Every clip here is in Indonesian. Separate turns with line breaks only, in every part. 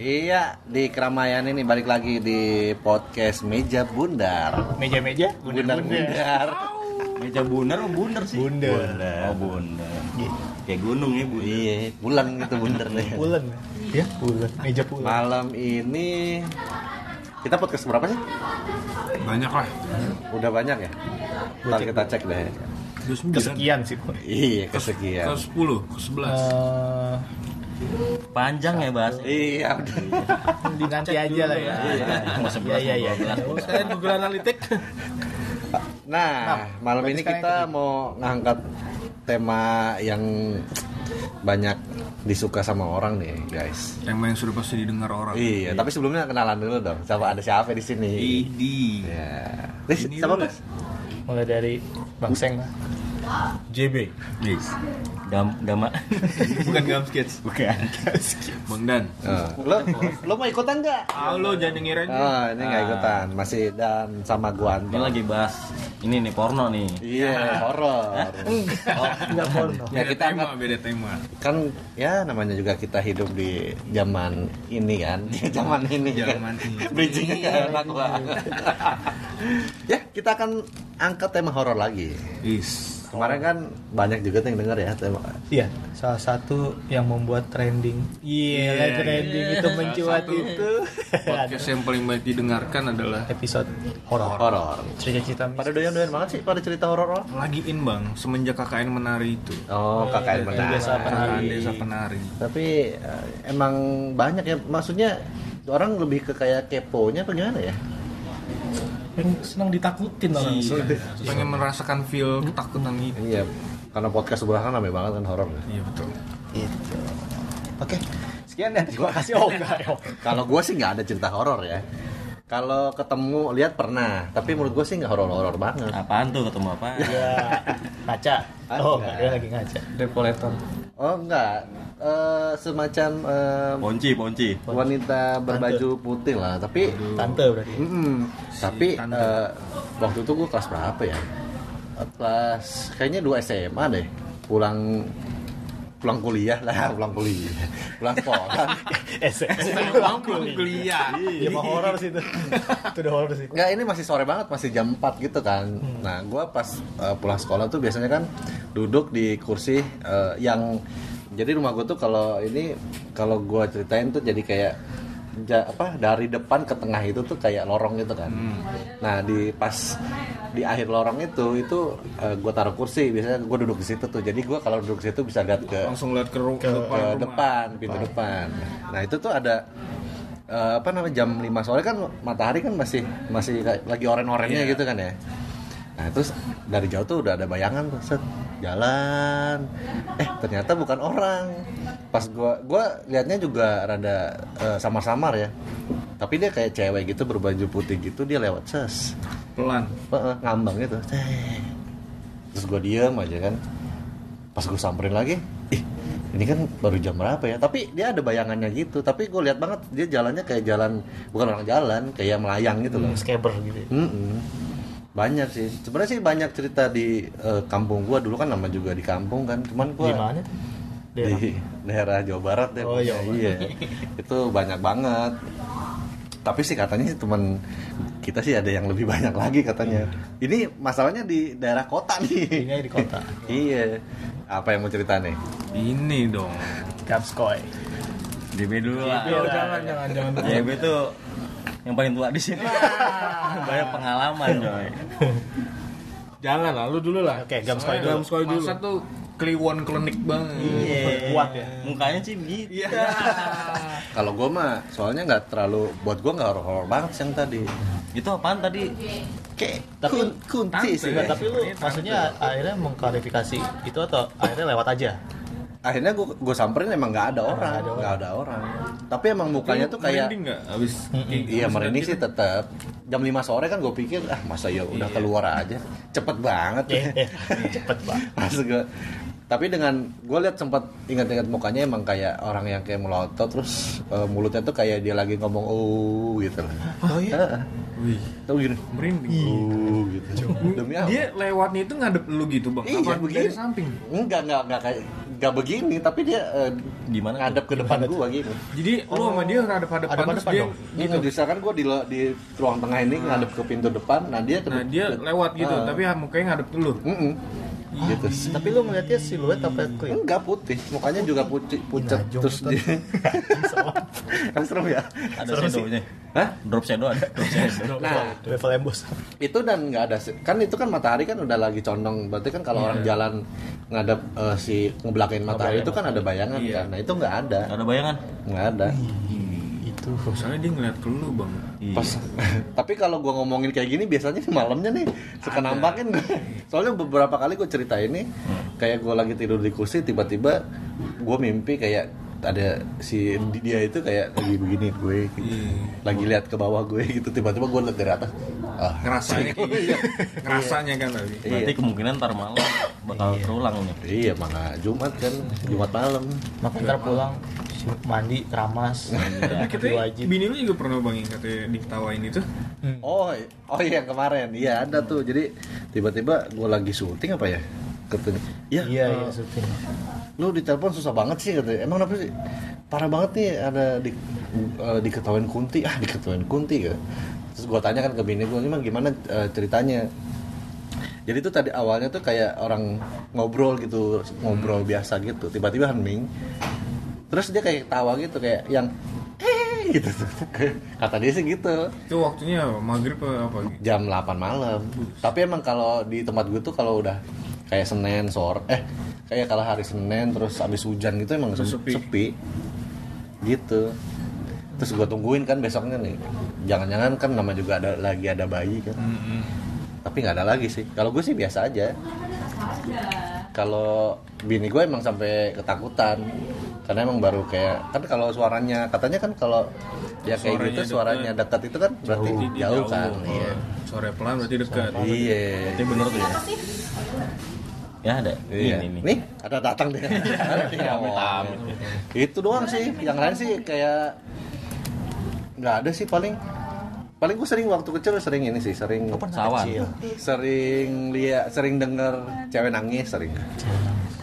Iya, di keramaian ini balik lagi di podcast Meja Bundar.
Meja-meja,
Bundar
bundar-bundar.
Bundar.
Meja bundar oh bundar sih.
Bundar.
Oh bundar. Kayak gunung ya, Bu.
Iya, pulang itu bundar deh.
Pulen. Ya, pulen. Meja pulen.
Malam ini kita podcast berapa sih?
banyak lah
Udah banyak ya? Ntar kita cek deh.
ke sembilan
Kesekian sih. Boy.
Iya,
ke
kesekian.
sepuluh ke sebelas
Eh,
Panjang ya bahas.
Iya, udah.
di nanti aja lah ya.
Mau sebelas,
Iya,
mau
iya,
dua belas.
iya.
Saya Google Analitik.
Nah, malam ini
sekarang
kita mau ngangkat tema yang banyak disuka sama orang nih, guys.
tema yang sudah pasti didengar orang
Iya, tapi sebelumnya kenalan dulu dong. Sama ada siapa di sini?
Idi.
Ya. Lis,
Ini
siapa
dulu
Mas?
Mulai dari Bang Seng lah.
JB.
Dam dama.
Bukan gam sketch.
Bukan.
bang dan
Eh, Lo, lo mau ikutan nggak?
Ah lo jangan ngirain.
Oh, ini nggak ikutan. Masih dan sama gua
Ini
Anto.
lagi bahas ini nih porno nih.
Iya, horor.
Enggak porno.
Ya
beda
kita
tema
angkat-
beda tema
kan ya namanya juga kita hidup di zaman ini kan, di zaman ini
Zaman
kan.
ini.
Bridgingnya nggak enak banget. ya kita akan angkat tema horor lagi.
is
Kemarin kan banyak juga tuh yang denger ya tema.
Iya, salah satu yang membuat trending. Iya, trending itu mencuat
satu.
itu.
podcast yang paling banyak didengarkan adalah
Episode horor.
horor.
Cerita-cerita
Pada
mistis.
doyan-doyan banget sih pada cerita horor.
lagi in bang semenjak KKN menari itu
Oh, kakak yang
Desa
benar.
Penari.
KKN desa penari
Tapi eh, emang banyak ya, maksudnya orang lebih ke kayak keponya apa gimana ya?
Yang senang ditakutin orang.
Iya. pengen merasakan feel ketakutan itu
Iya, karena podcast sebelah kan rame banget kan horor.
iya betul
Gitu. Oke,
Sekian dan terima kasih. Oh, enggak. oh.
kalau gue sih nggak ada cerita horor ya. Kalau ketemu lihat pernah, tapi menurut gue sih nggak horor-horor banget.
Apaan tuh ketemu apa?
Ya, ngaca. Oh,
Enggak.
dia lagi ngaca.
Depoletor.
Oh enggak, Eh, semacam eh,
Ponci, ponci.
wanita berbaju putih lah, tapi
Tante berarti.
Mm-mm. tapi eh, waktu itu gue kelas berapa ya? Kelas kayaknya 2 SMA deh. Pulang pulang kuliah lah, Ah, pulang kuliah. Pulang sekolah.
Eh, se-
Pulang kuliah
Iya, mah horor sih itu. itu udah horor sih.
Enggak, ini masih sore banget, masih jam 4 gitu kan. Nah, gua pas eh, pulang sekolah tuh biasanya kan duduk di kursi eh, yang jadi rumah gue tuh kalau ini kalau gua ceritain tuh jadi kayak ja- apa dari depan ke tengah itu tuh kayak lorong gitu kan. Nah, di pas di akhir lorong itu itu eh, gua taruh kursi, biasanya gua duduk di situ tuh. Jadi gua kalau duduk di situ bisa lihat ke
langsung lihat ke, ru- ke,
ke
depan rumah
depan, pintu depan. Nah, itu tuh ada eh, apa namanya jam 5 sore kan matahari kan masih masih la- lagi oren-orennya
Iya.
gitu kan ya. Nah, terus dari jauh tuh udah ada bayangan tuh, set, jalan. Eh, ternyata bukan orang. Pas gua gua liatnya juga rada eh, samar-samar ya. Tapi dia kayak cewek gitu berbaju putih gitu dia lewat ses.
pelan
Heeh, ngambang gitu Cek. terus gue diem aja kan pas gue samperin lagi ih ini kan baru jam berapa ya tapi dia ada bayangannya gitu tapi gue lihat banget dia jalannya kayak jalan bukan orang jalan kayak melayang gitu loh
Scaber gitu.
Mm-mm. banyak sih sebenarnya sih banyak cerita di eh, kampung gue dulu kan nama juga di kampung kan cuman gue
Di mana? Daerah.
di daerah Jawa Barat deh.
Oh, Jawa Barat.
Iya. Itu banyak banget. Tapi sih katanya sih teman kita sih ada yang lebih banyak lagi katanya.
Iya.
Ini masalahnya di daerah kota nih.
Ini di kota.
iya. Apa yang mau cerita nih?
ini dong
Kapskoy.
DB dulu lah.
Oh,
Iya.
jangan jangan jangan.
DB tuh yang paling tua di sini. Banyak pengalaman, coy.
Jangan lah, lu dulu lah.
Oke, Gamskoy
Soalnya
dulu.
Gamskoy dulu. Iya.
masa tuh kliwon klinik banget
Iya.
Kuat ya. Iya.
Mukanya sih gitu.
Kalau gue mah soalnya nggak terlalu buat gue nggak horor banget sih yang tadi.
Itu apaan tadi?
Kayak
Tapi-
kun- kunci sih.
Enggak, tapi lu maksudnya akhirnya mengklarifikasi itu atau akhirnya lewat aja?
Akhirnya gue gue samperin emang nggak ada orang,
Nggak ada orang.
nggak ada orang. Tapi emang mukanya tuh kayak
Merinding nggak abis
Iya merinding sih tetap jam 5 sore kan gue pikir ah masa ya udah keluar aja cepet banget
Eh, eh, cepet banget.
Pas gua- tapi dengan gue lihat sempat ingat-ingat mukanya emang kayak orang yang kayak melotot terus eh, mulutnya tuh kayak dia lagi ngomong oh gitu loh
Oh iya.
Heeh.
Wih,
Tahu gini
merinding
Iya.
oh gitu demi apa
Dia lewatnya itu ngadep lu gitu bang
Iya,
Apa dari
begini.
samping
enggak enggak enggak kayak gak begini tapi dia eh,
Gimana tuh?
ngadep ke depan gua gini
Jadi lu sama
Oh.
dia ngadep-hadapan terus
Hadap-hadapan
dia
dong.
gitu misalkan gua di lo- di ruang tengah ini ngadep ke pintu depan nah dia ke
Nah dia lewat gitu,
Ah.
tapi mukanya ngadep ke lu.
Mm-mm. gitu
Tapi lu ngeliatnya siluet apa clear?
enggak putih mukanya juga putih pucat
Inajong,
terus
Ton.
dia kan serem ya
Ada
Serem sih.
shadownya.
Hah?
Drop shadow ada. Drop shadow.
nah
Level emboss.
itu dan nggak ada se- kan itu kan matahari kan udah lagi condong berarti kan kalau orang jalan ngadep eh, si ngebelakangin matahari itu kan ada bayangan kan nah itu nggak ada
Ada bayangan?
nggak ada
Itu
Uh.
Oh, soalnya dia ngeliat ke lu bang.
pas tapi kalau gua ngomongin kayak gini biasanya sih malamnya nih suka nampakin soalnya beberapa kali gue cerita ini kayak gua lagi tidur di kursi tiba-tiba gua mimpi kayak ada si dia itu kayak lagi begini gue gitu. lagi lihat ke bawah gue gitu tiba-tiba gue lihat dari atas ah
Ngerasanya kayak gitu. Ngerasanya kan tadi.
Iya.
Berarti kemungkinan ntar malam bakal terulang nih.
Iya, mana Jumat kan, Jumat malam.
Makan ntar pulang mandi keramas
Nah,
mandi
kita
wajib
bini lu juga pernah bang yang katanya diketawain itu.
Oh, i- oh iya kemarin, iya ada tuh. Jadi tiba-tiba gue lagi syuting apa ya? Katanya, ya,
iya iya
eh,
syuting
lu ditelepon susah banget sih katanya. Emang kenapa sih? Parah banget nih ada di, eh, diketawain kunti, ah diketawain kunti gitu. Terus gue tanya kan ke bini gue, emang gimana eh, ceritanya? Jadi tuh tadi awalnya tuh kayak orang ngobrol gitu, ngobrol biasa gitu. Tiba-tiba hening. Terus dia kayak tawa gitu kayak yang eh gitu tuh. Kata dia sih gitu
Itu waktunya maghrib apa apa gitu?
jam 8 malam. Tapi emang kalau di tempat gue tuh kalau udah kayak Senin sore eh kayak kalau hari Senin terus habis hujan gitu emang
Terus
sepi.
sepi.
sepi. Gitu. Terus gue tungguin kan besoknya nih. Jangan-jangan kan nama juga ada lagi ada bayi kan. Tapi nggak ada lagi sih. Kalau gue sih biasa aja. Kalau bini gue emang sampai ketakutan karena emang baru kayak kan kalau suaranya katanya kan kalau dia kayak
Suaranya
gitu suaranya dekat itu kan berarti jauh,
Jadi jauh.
kan
Oh,
iya.
Sore pelan berarti dekat.
Iya.
Berarti bener tuh ya. Ya ada.
Iya.
Ini, Iya, ini.
Nih, ada datang deh. Ada nih, awal. Itu doang sih. Yang lain sih kayak nggak ada sih paling. Paling gue sering waktu kecil sering ini sih, sering
Sawan.
sering lihat, sering denger cewek nangis sering.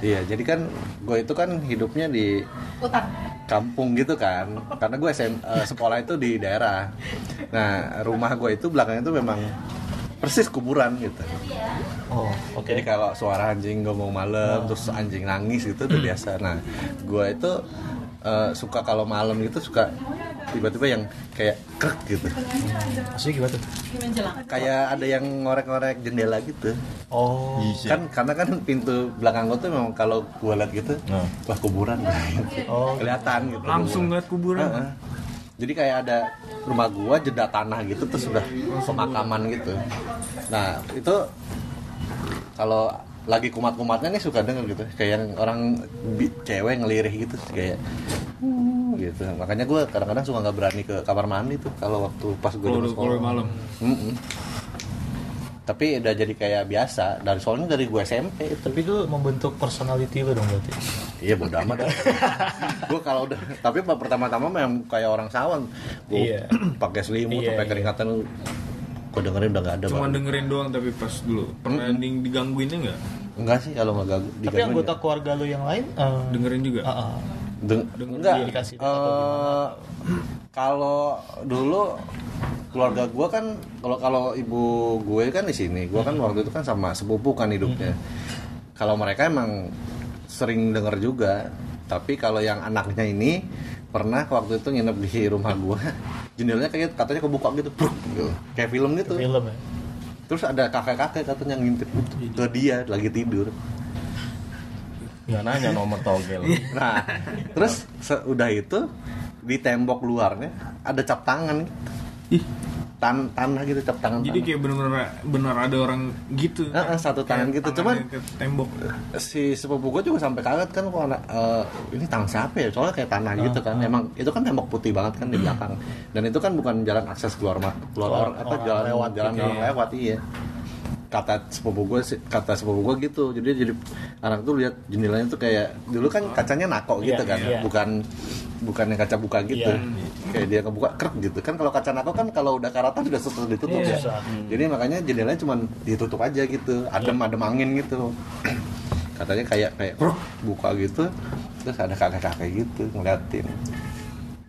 Iya, jadi kan gue itu kan hidupnya di kampung gitu kan, karena gue SM, eh, sekolah itu di daerah. Nah, rumah gue itu belakangnya itu memang persis kuburan gitu.
oh oke
Jadi kan? kalau suara anjing ngomong malam terus anjing nangis gitu udah biasa. Nah, gua itu eh, suka kalau malam gitu suka tiba-tiba yang kayak krek gitu.
maksudnya gimana tuh
Kayak ada yang ngorek-ngorek jendela gitu.
oh
Iya.
Kan karena kan pintu belakang gua tuh memang kalau gua lihat gitu,
Nah.
wah kuburan.
Oh.
Kelihatan gitu.
Langsung
kuburan.
ngeliat kuburan.
Heeh. Jadi kayak ada rumah gua jeda tanah gitu terus udah pemakaman gitu. Nah, itu kalau lagi kumat-kumatnya nih suka denger gitu kayak yang orang bi- cewek ngelirih gitu kayak "Hmm," gitu makanya gua kadang-kadang suka nggak berani ke kamar mandi tuh kalau waktu pas gue
Kalau kalau malam.
Mm-mm. tapi udah jadi kayak biasa dari soalnya dari gue SMP itu
tapi itu membentuk personality lu dong berarti
Iya bodo amat Gue kalau udah Tapi pa- pertama-tama memang kayak orang sawan Gua
Iya.
pakai selimut
Iya,
sampai
iya.
keringatan Gue dengerin udah gak ada
Cuma
Bang.
dengerin doang tapi pas dulu. Pernah ding- digangguinnya nggak?
Enggak sih kalau gak gagu
tapi anggota keluarga lu yang lain eh,
Dengerin juga.
ah, ah.
Deng-
Denger
enggak
dia dikasih
eh, kalau dulu keluarga gua kan kalau kalau ibu gue kan di sini gua kan
Hmm.
waktu itu kan sama sepupu kan hidupnya kalau mereka emang sering denger juga tapi kalau yang anaknya ini pernah waktu itu nginep di rumah gua jendelanya kayak katanya kebuka gitu, bruk, gitu. kayak film gitu
film Iya, ya
terus ada kakek-kakek katanya ngintip gitu ke dia lagi tidur
Nggak nanya nomor togel.
Nah, terus udah itu di tembok luarnya ada cap tangan.
Ih.
Tan tanah gitu cap tangan.
Jadi
tanah.
kayak bener-bener bener ada orang gitu.
Heeh, satu tangan
Kayak
gitu. Cuman-
tangannya ke tembok.
si sepupu gue juga sampai kaget kan kok anak eh, ini tang siapa ya? Soalnya kayak tanah gitu kan.
Ah.
Emang itu kan tembok putih banget kan di
Hmm.
belakang. Dan itu kan bukan jalan akses keluar ma- keluar apa
Orang- orang
jalan
lewat
jalan
gitu
orang
ya.
lewat iya. Kata sepupu gue sih- kata sepupu gue gitu. Jadi jadi anak tuh lihat jendelanya tuh kayak dulu kan kacanya nako gitu
Iya,
kan.
iya.
Bukan bukan yang kaca buka gitu.
Iya.
Kayak dia kebuka krek gitu. Kan kalau kaca nako kan kalau udah karatan udah susah ditutup
Iya.
ya. Jadi makanya jendelanya cuma ditutup aja gitu. Adem adem angin gitu. katanya kayak kayak "Bruk," buka gitu terus ada kakek-kakek gitu ngeliatin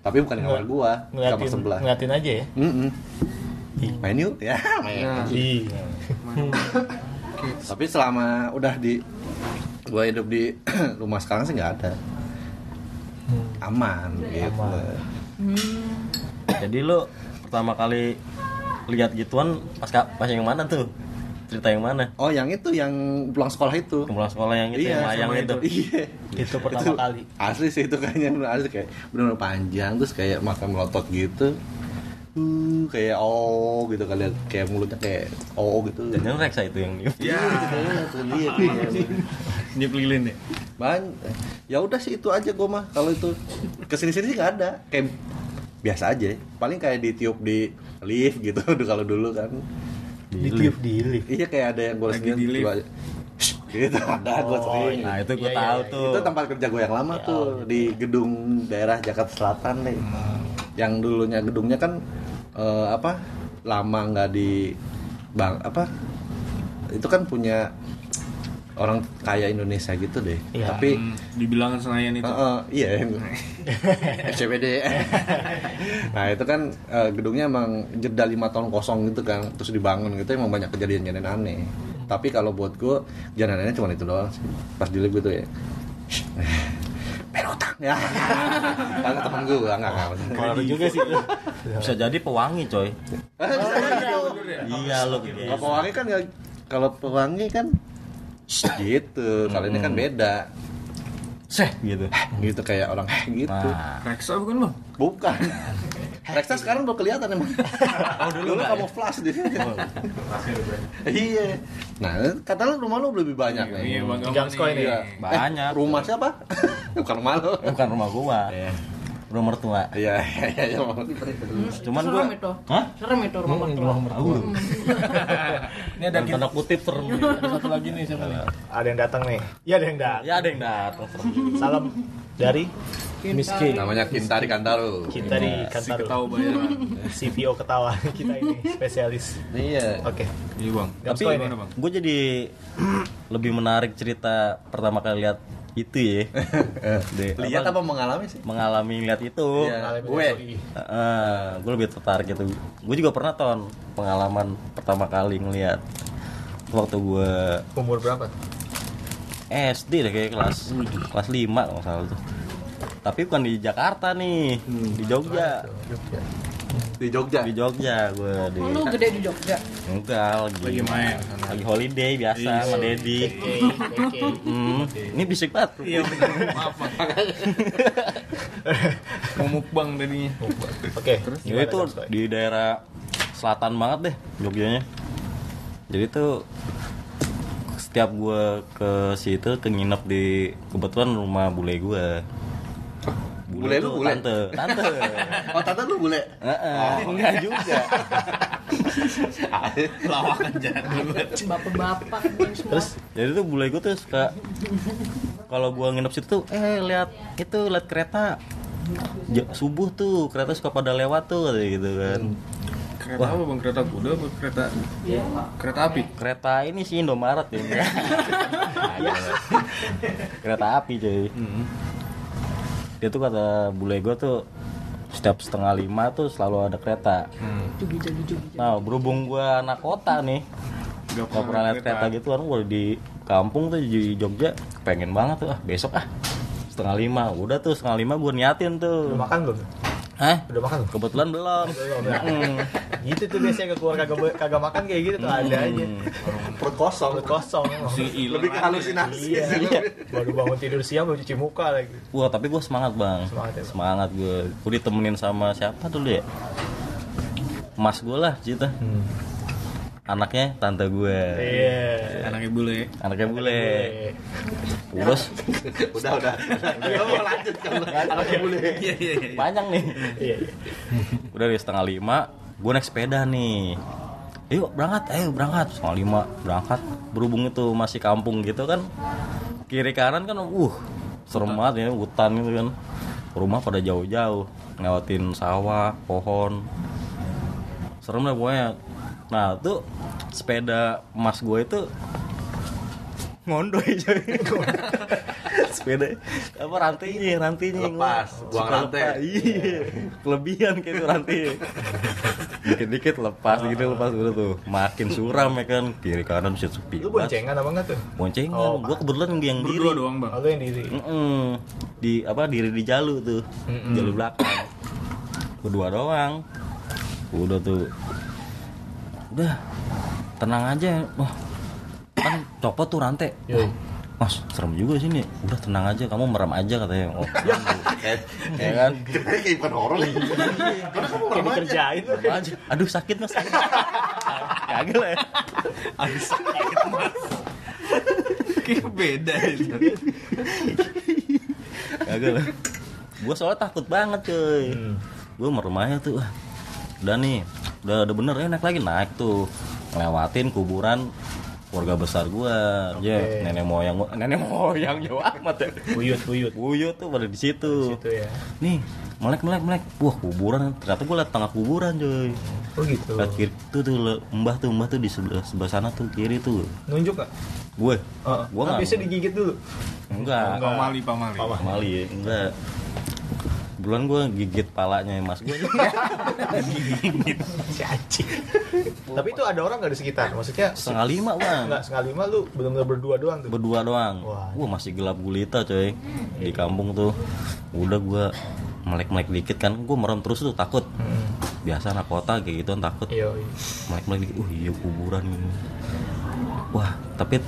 tapi bukan di kamar gua kamar
ngeliatin
sebelah
ngeliatin aja ya
Mm-mm. main yuk ya main
iya
tapi selama udah di gua hidup di rumah sekarang sih nggak ada aman gitu
Jadi lu pertama kali lihat gituan pas ka- pas yang mana tuh? Cerita yang mana?
oh yang itu yang pulang sekolah itu
Yang pulang sekolah yang itu Gitu ya, yang layang
Iya, sama
itu.
Iya.
Itu pertama kali.
Asli sih itu kayaknya bener- asli kayak benar-benar panjang terus kayak mata melotot gitu. Uh, kayak oh gitu kalian kayak mulutnya kayak oh gitu.
Jangan Reksa itu yang niup.
Ya, tuh dia, kayak-
Niup lilin ya.
Bang, ya udah sih itu aja gua mah kalau itu kesini-sini sih nggak ada kayak biasa aja paling kayak ditiup di lift gitu kalau dulu kan
ditiup di lift
iya kayak ada yang gue
Lagi
sendiri
di lift.
gitu ada gua sering
Nah, itu gua
Iya, iya,
tahu
iya.
tuh.
Itu tempat kerja gue yang lama tuh di gedung daerah Jakarta Selatan deh. Yang dulunya gedungnya kan eh, apa? Lama nggak di bang apa? Itu kan punya orang kaya Indonesia gitu deh.
Iya.
Tapi
Hmm, dibilangan Senayan itu.
Gitu.
Eh, eh, iya SCBD nah itu kan eh, gedungnya emang jeda lima tahun kosong gitu kan terus dibangun gitu emang banyak kejadian-kejadian aneh tapi kalau buat gue kejadian anehnya cuma itu doang sih pas di lift gitu ya "Shh, bayar utang ya karena temen gue enggak enggak enggak
Pengaruh juga sih itu. Bisa jadi pewangi, coy. Oh, Iya lu
kalau pewangi kan nggak- kalau pewangi kan "Shh," gitu kalau ini kan beda
Seh gitu.
gitu kayak orang gitu
Nah,
Reksa bukan bang?
Bukan. Reksa sekarang udah kelihatan emang. Oh, dulu, kamu flash dia. Iya. Nah, kata lu rumah lu lebih banyak nih.
Iya bang.
Gang
Gamal
Skoy
nih.
nih.
banyak.
Rumah siapa? Bukan rumah lu.
bukan rumah gua. Rumah mertua.
Iya, iya, iya.
Cuman gua
serem itu
Hah?
serem itu rumah mertua
Ini ada kita
Tanda kutip serem.
satu lagi nih siapa nih?
ada yang datang nih iya ada yang datang
Ya ada yang datang serem.
salam dari Miss K
Namanya Kintari Kantaro.
kita di
Si
kantor
ketahu bayaran.
CPO ketawa kita ini spesialis
Iya.
oke
Iya bang.
Tapi-
Tapi gimana bang?
Gue jadi lebih menarik cerita pertama kali lihat itu ya. Di-
Lihat apa mengalami sih?
mengalami lihat itu.
Iya, gue.
gue lebih tertarik itu. Gue juga pernah ton pengalaman pertama kali ngelihat waktu gue
umur berapa
SD deh kayak kelas kelas 5 kalau nggak salah tuh. Tapi bukan di Jakarta nih, di Jogja.
Di Jogja.
Di Jogja gue di
lu gede di Jogja
enggak lagi
Lagi main. sana.
lagi holiday biasa sama Dedi. Hmm, ini bisik banget.
Iya benar. Maaf bang. Mau mukbang tadinya.
oke
Ya itu
Gimana, Gang Skoy?
di daerah selatan banget deh Jogjanya. Jadi tuh setiap gue ke situ ke nginep di kebetulan rumah bule gue.
Bule lu,
tuh
bule?
Tante, tante.
Oh, tante lu Oh, boleh.
Heeh, enggak juga.
Lawakan jadul.
bapak-bapak dan semua
terus
Jadi tuh bule gue tuh suka kalau gua nginep situ tuh, eh lihat itu lihat kereta Ja- subuh tuh kereta suka pada lewat tuh katanya gitu kan.
Kereta apa bang? Kereta kuda apa kereta? Kereta api.
Kereta ini sih Indomaret ya. Iya. kereta api cuy. Dia tuh kata bule gue tuh setiap setengah lima tuh selalu ada kereta. Nah berhubung gua anak kota nih,
Gak
gak pernah lihat kereta gitu kan, gua di kampung tuh di Jogja pengen banget tuh ah besok ah setengah lima udah tuh setengah lima gue niatin tuh
udah makan belum
Hah?
udah makan belum
kebetulan belum
Belum, ya? gitu tuh biasanya ke keluarga kagak kagak makan kayak gitu tuh ada aja
Hmm. Perut kosong.
perut kosong emang.
Lebih ke halusinasi.
iya iya. baru bangun tidur siang baru cuci muka lagi
Wah tapi gue semangat bang
Semangat ya, Bang.
Semangat gue Gue ditemenin sama siapa dulu ya Mas gue lah Cita Anaknya tante gue
Hmm. iya
Anaknya bule ya.
Anaknya bule
Iya.
Terus
Udah, udah. Iya, mau lanjut kalau anaknya boleh.
panjang nih
iya iya.
Udah dari setengah lima Gue naik sepeda nih Yuk berangkat, ayo berangkat Setengah lima berangkat Berhubung itu masih kampung gitu kan Kiri kanan kan uh Serem banget ya hutan gitu kan Rumah pada jauh-jauh Ngelewatin sawah, pohon serem lah pokoknya nah tuh sepeda emas gue itu ngondoy coy. sepeda apa rantainya rantainya yang
Lepas,
ngon-
buang
suka
rantai.
lepas. iya kelebihan kayak itu rantainya dikit-dikit lepas gitu lepas dulu tuh makin suram ya kan kiri kanan bisa sepi
Lu
banget.
boncengan apa enggak tuh?
boncengan
Oh,
gua kebetulan yang diri
Berdua doang bang.
Oh, lu yang diri.
Mm-mm. di apa diri di jalu tuh jalur belakang berdua doang udah tuh udah tenang aja wah kan copot tuh rantai
Iya.
Wah, Mas, serem juga sini. Udah tenang aja, kamu merem aja katanya. Oh, merem dulu. ya kan?
Ceritanya kayak bukan horor nih. Karena kamu
Kayak dikerjain lu.
Merem aja. Aduh sakit mas. Kagak lah. ya.
Aduh sakit mas. Kayak beda itu.
Kagak lah. Gue soalnya takut banget cuy. Gue merem aja tuh. Wah, Udah nih, udah udah bener ya naik lagi naik tuh. Ngelewatin kuburan keluarga besar gua, ya nenek moyang gua, nenek moyang jauh amat ya.
Buyut, buyut.
Buyut tuh pada di situ.
Itu ya.
Nih, melek melek melek. Wah, kuburan ternyata gua liat tengah kuburan, coy.
Oh gitu.
Liat kiri tuh tuh le- mbah tuh mbah tuh di sebelah sebelah sana tuh kiri tuh.
Nunjuk enggak?
Gue.
Heeh.
Gua nggak-
Bisa digigit dulu.
Oh, Enggak.
Pamali, pamali.
Pak Mali ya, enggak. Bulan gue gigit palanya ya, mas gue.
Si anjing. Tapi itu ada orang enggak di sekitar? Maksudnya
Setengah lima bang,
enggak sekali lima lu benar-benar berdua doang tuh.
berdua doang.
Wah.
Wah masih gelap gulita coy di kampung tuh. Udah gue melek-melek dikit kan, gue merem terus tuh takut. Biasa anak kota kayak gitu takut.
Iya.
Melek-melek dikit, uh iya kuburan ini. Wah tapi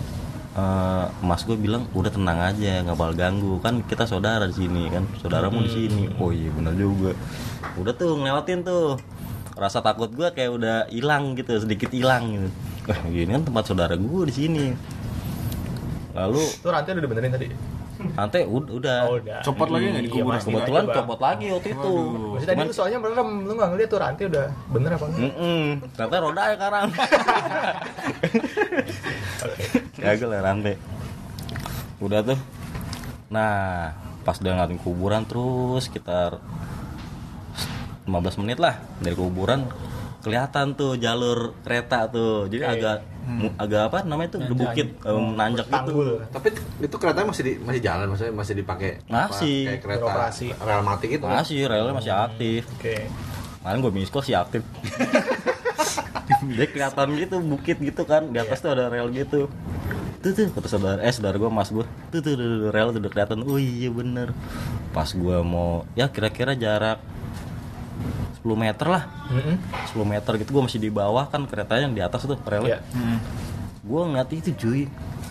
eh, mas gue bilang udah tenang aja nggak bakal ganggu kan kita saudara di sini kan saudaramu
Hmm.
di sini oh iya benar juga udah tuh ngelewatin tuh rasa takut gue kayak udah hilang gitu sedikit hilang gitu wah ini kan tempat saudara gue di sini lalu
Itu rantai udah dibenerin tadi.
nanti ud- udah,
Oh, udah.
Copot lagi nggak di
Iya,
kuburan?
Mas.
kebetulan
Coba.
copot lagi waktu itu
Maksudnya tadi lu soalnya merem, lu nggak ngeliat tuh rantai udah bener apa
Hmm,
enggak?
Mm-mm. Ternyata roda ya karang. Gagal ya rantai. Udah tuh. Nah, pas udah ngeliatin kuburan terus sekitar 15 menit lah dari kuburan kelihatan tuh jalur kereta tuh. Jadi agak mu- agak apa namanya tuh bukit menanjak gitu.
Tanggul.
Tapi itu keretanya masih di, masih jalan maksudnya masih dipakai apa,
Masih.
kayak kereta
Beroperasi.
rel mati gitu.
Masih relnya masih aktif.
Oke.
Kemarin gue misko sih aktif. Dia kelihatan gitu bukit gitu kan di atas tuh ada rel gitu. Tuh tuh kata saudara eh saudara gue mas gue tuh tuh, tuh, tuh, rel tuh udah kelihatan. Oh iya bener. Pas gue mau ya kira-kira jarak 10 meter lah.
Mm-mm.
10 meter gitu gue masih di bawah kan keretanya yang di atas tuh
Iya.
relnya.
Hmm.
Gue ngeliat itu cuy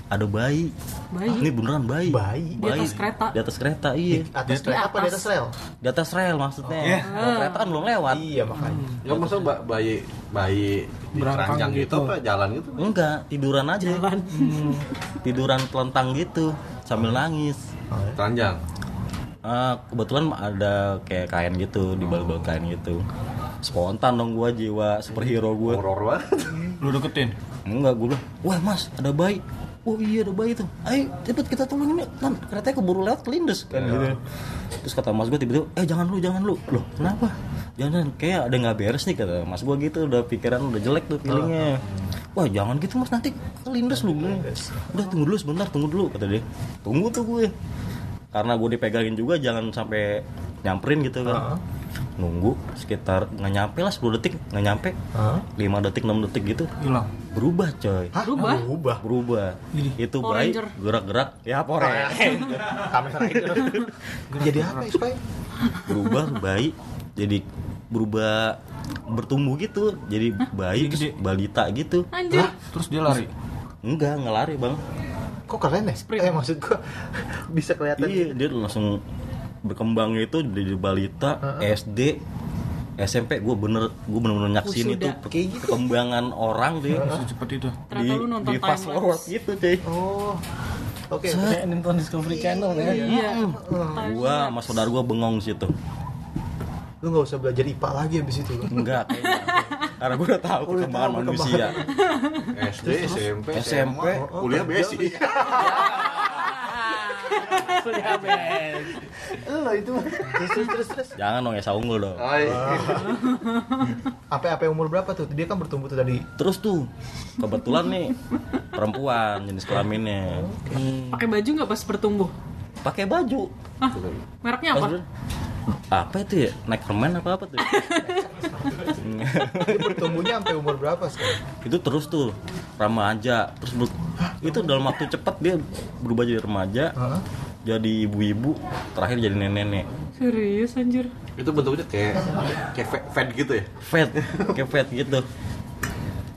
ada bayi.
Bayi?
Ah, ini beneran bayi.
Bayi?
Di atas kereta?
Di atas kereta iya.
Atas rel apa di atas rel?
Di atas rel maksudnya. Kalau Kereta kan belum lewat.
Oh, Iya makanya.
Ya maksudnya ba- bayi bayi di
Berangkang
keranjang gitu,
gitu.
apa jalan gitu.
Enggak, tiduran aja. Hmm, tiduran telentang gitu sambil nangis.
Oh, ya.
Keranjang.
Ah, kebetulan ada kayak kain gitu, di bal kain gitu. Spontan dong gua jiwa superhero gua.
Horor banget.
Lu deketin.
Enggak, gua bilang, "Wah, Mas, ada bayi." Oh iya ada bayi tuh. Ayo cepet kita tolongin yuk. Tan, keretanya keburu lewat kelindes kan gitu. Terus kata Mas gua tiba-tiba, "Eh, jangan lu, jangan lu." Loh, kenapa? Jangan, kayak ada yang nggak beres nih kata Mas gua gitu, udah pikiran udah jelek tuh feelingnya. Wah, jangan gitu Mas, nanti Ah, kelindes lu. Udah tunggu dulu sebentar, tunggu dulu kata dia. Tunggu tuh gue. Karena gue dipegangin juga jangan sampai nyamperin gitu kan. Nunggu sekitar nggak nyampe lah 10 detik, nggak nyampe.
Hah?
5 detik, 6 detik gitu
Hilang.
berubah coy
Hah?
Berubah?
Berubah.
berubah itu
Power
baik
Ranger.
gerak-gerak ya pore
Kamen Rider. Jadi apa ya, supaya?
berubah baik jadi berubah bertumbuh gitu jadi bayi terus balita gitu
Anjir.
Terus dia lari.
enggak nggak lari bang
Kok keren ya? Eh maksud gua bisa kelihatan.
iya dia langsung berkembang itu dari balita SD SMP gue bener gue bener-bener nyaksin itu
Wisuda. gitu.
per- perkembangan orang deh
Secepat itu.
Ternyata lu nonton
di fast
timelapse.
forward gitu cuy
Oh. Oke.
Kayak nonton Discovery Channel ya.
Iya.
gua sama saudara gua bengong situ
Lu nggak usah belajar IPA lagi abis itu.
enggak kayaknya karena gue udah tahu
Oh, udah
perkembangan
tahu
manusia
SD, SMP,
SMP.
kuliah basic.
Sudah beres.
Lo itu mah.
Terus terus terus, terus.
Jangan dong Esa Unggul dong.
Apa-apa umur berapa tuh? Dia kan bertumbuh tuh tadi.
Terus tuh kebetulan nih perempuan jenis kelaminnya
Pakai baju nggak pas bertumbuh?
pakai baju
Hah? Mereknya apa?
apa itu ya neckerman apa apa tuh
Dia bertumbuhnya sampai umur berapa sekarang?
itu terus tuh remaja terus ber- itu dalam waktu cepat dia berubah jadi remaja
Hah?
jadi ibu-ibu terakhir jadi nenek-nenek
Serius anjir.
Itu bentuknya kayak kayak fe- fade gitu ya.
fat kayak fat gitu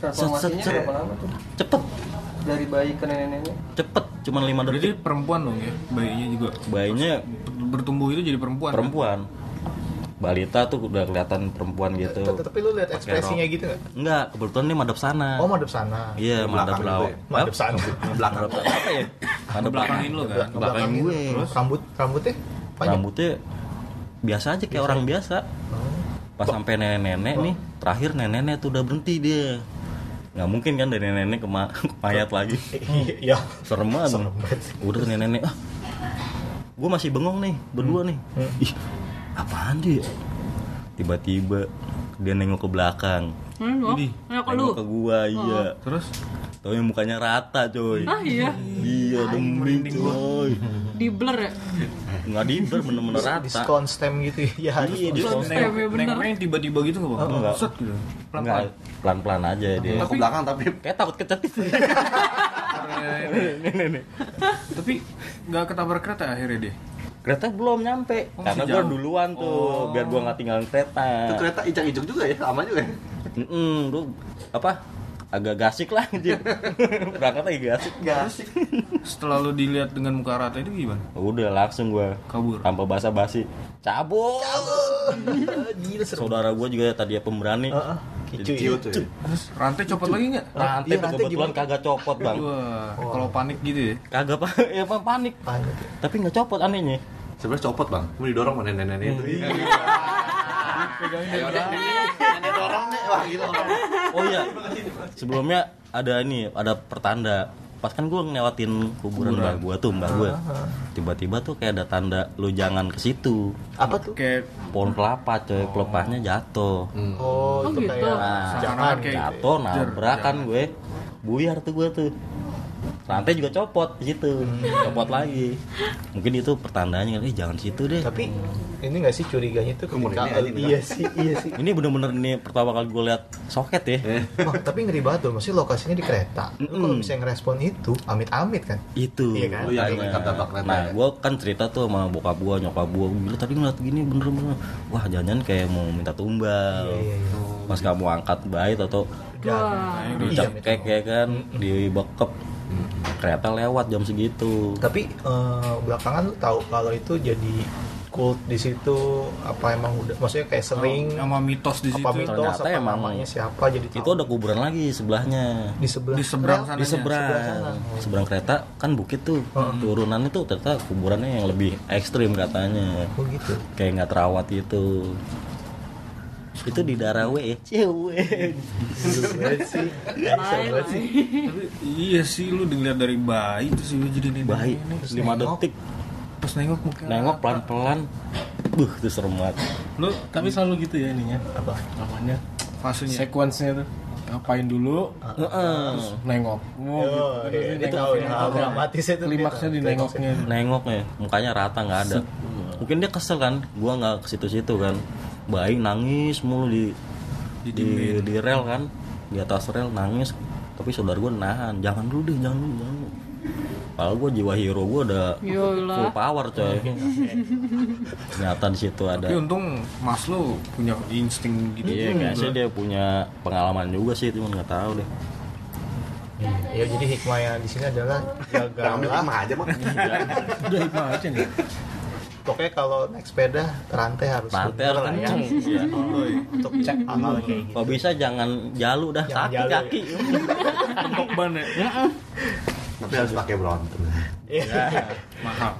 Transformasinya
Set, set, set.
berapa lama tuh?
cepet
Dari bayi ke nenek-nenek.
cepet cuman lima
Berarti
detik
perempuan dong ya, bayinya juga.
bayinya
Bertumbuh itu jadi perempuan. kan?
perempuan balita tuh udah kelihatan perempuan gitu
Tapi lu lihat ekspresinya gitu nggak?
enggak kebetulan dia madep sana
Oh madep sana.
iya madep
belakang
laut
gitu ya?
Madep sana.
belakang apa ya
Ada
madep belakang
belakangin lo kan.
belakang gue
Terus gitu. rambut rambutnya panjang.
rambutnya biasa aja kayak orang biasa pas sampai nenek-nenek nih terakhir nenek-nenek tuh udah berhenti dia nggak mungkin kan dari nenek ke, ma- ke mayat lagi
Iya.
serem banget udah tuh nenek-nenek ah gue masih bengong nih berdua nih ih apaan dia tiba-tiba dia nengok ke belakang
Ini gua.
Ini.
Ayo ke lu. Oh.
nengok ke gua iya
Terus
Taunya mukanya rata coy
Ah iya,
Iya demi coy
di blur ya.
Nggak di
Di
bener-bener rata
scone stem gitu ya.
Iya
Iya.
di
Blur
neng
stem ya bener.
neng tiba-tiba gitu nggak bang?
Enggak.
Set gitu.
Nggak, pelan-pelan aja dia
Aku belakang tapi
Kayak takut gitu. kecetit
Tapi nggak ketabrak kereta akhirnya deh.
Kereta belum nyampe
Oh,
Karena
masih
gue
jauh.
duluan tuh Biar gue nggak tinggalin kereta
itu kereta ijak-ijuk juga ya, lama juga ya.
Mm-mm, Gue apa agak gasik lah anjir Berangkat lagi gasik
Setelah lo dilihat dengan muka rata itu gimana?
Udah langsung gue
Kabur.
Tanpa basa-basi Cabut
Ah, Gila seru.
Saudara gue juga tadi ya pemberani
Heeh.
Jadi
Ciut
Kicu ya.
ya.
Terus rantai copot lagi nggak?
Rantai
Iya,
tuh
rantai
kebetulan kagak copot bang
Wah, kalau panik gitu ya.
Kagak apa ya apa, panik
Panik.
Tapi nggak copot anehnya
Sebenarnya copot bang, mau didorong sama nenek-nenek itu. Ayo deh, nenek dorong nih, wah gitu.
Oh iya Sebelumnya ada ini ada pertanda Pas kan gue ngelewatin kuburan, mbak gue tuh mbak gue Tiba-tiba tuh kayak ada tanda lu jangan ke situ
Apa tuh?
Kayak
Pohon kelapa coy, pelepahnya jatuh
Hmm.
Oh, itu
gitu.
kayak
Nah,
jangan
kayak
kayak
Jatuh nabrak kan gue Buyar tuh gue tuh Rantai juga copot di situ,
Hmm.
copot lagi. Mungkin itu pertandanya kan, eh jangan situ deh.
Tapi ini nggak sih curiganya tuh
Umur
ketika
ini aja nih,
iya sih iya sih.
Ini bener-bener nih pertama kali gue lihat soket ya.
Wah, tapi ngeri banget loh, maksudnya lokasinya di kereta. Lu kalau
Mm-mm.
bisa ngerespon itu, amit-amit kan.
itu
Iya kan?
Lu yang
makanya.
tingkat babak kereta
nah
ya?
gue kan cerita tuh sama bokap gue nyokap gue gila tadi ngeliat gini bener-bener wah jangan kayak mau minta tumbal
Iya, iya, iya.
pas kamu angkat bayi atau Nah,
Wah.
dicekek ya kan dibekep kereta lewat jam segitu
Tapi eh, belakangan lu tahu kalau itu jadi kult di situ apa emang udah maksudnya kayak sering
sama mitos di
apa
situ.
mitos apa
Ternyata emang
namanya siapa jadi
itu ada kuburan lagi sebelahnya
di sebelah
Di seberang sana. ya.
di
seberang sana. Hmm.
seberang seberang kereta kan bukit tuh turunannya tuh ternyata kuburannya yang lebih ekstrim katanya
Oh gitu.
kayak nggak terawat itu itu di daerah W ya cewek
Seru banget sih. Seru banget sih.
Tapi iya sih lu dilihat dari bayi terus lu jadi nenek.
baik lima
nengok.
detik
Pas nengok muka.
nengok pelan pelan buh itu serem banget
Lu
Tapi selalu gitu ya ininya.
Apa?
Namanya
fasenya.
sequence-nya tuh. Ngapain dulu?
Heeh.
Nengok. Mau gitu.
Oh, iya, itu
Terus nengok,
tahu ya,
nengok.
dramatisnya tuh
Klimaksnya
dia
di
tahu.
nengoknya.
nengok ya mukanya rata nggak ada mungkin dia kesel kan gua nggak ke situ situ kan baik nangis mulu di di, di, rel kan di atas rel nangis tapi saudara gua nahan jangan dulu deh jangan dulu jangan dulu Padahal gua jiwa hero gua udah
Yolah.
full power coy
Iya.
ternyata di situ ada
Tapi untung mas lu punya insting gitu.
Hmm.
Iya,
juga.
kayaknya sih dia punya pengalaman juga sih, cuman nggak tahu deh.
Ya jadi hikmahnya di sini adalah
Ambil
jagalah
mah aja mah.
Udah hikmah aja nih.
Pokoknya kalau naik sepeda rantai harus
Rantai
bener
harus
lah ya.
kenceng. Iya.
Untuk cek amal kayak gitu.
Kalau bisa jangan jalu dah
Jangan
kaki
jalu, iya.
kaki.
Nengok ban ya.
Tapi harus pakai bronton.
Iya.
Mahal.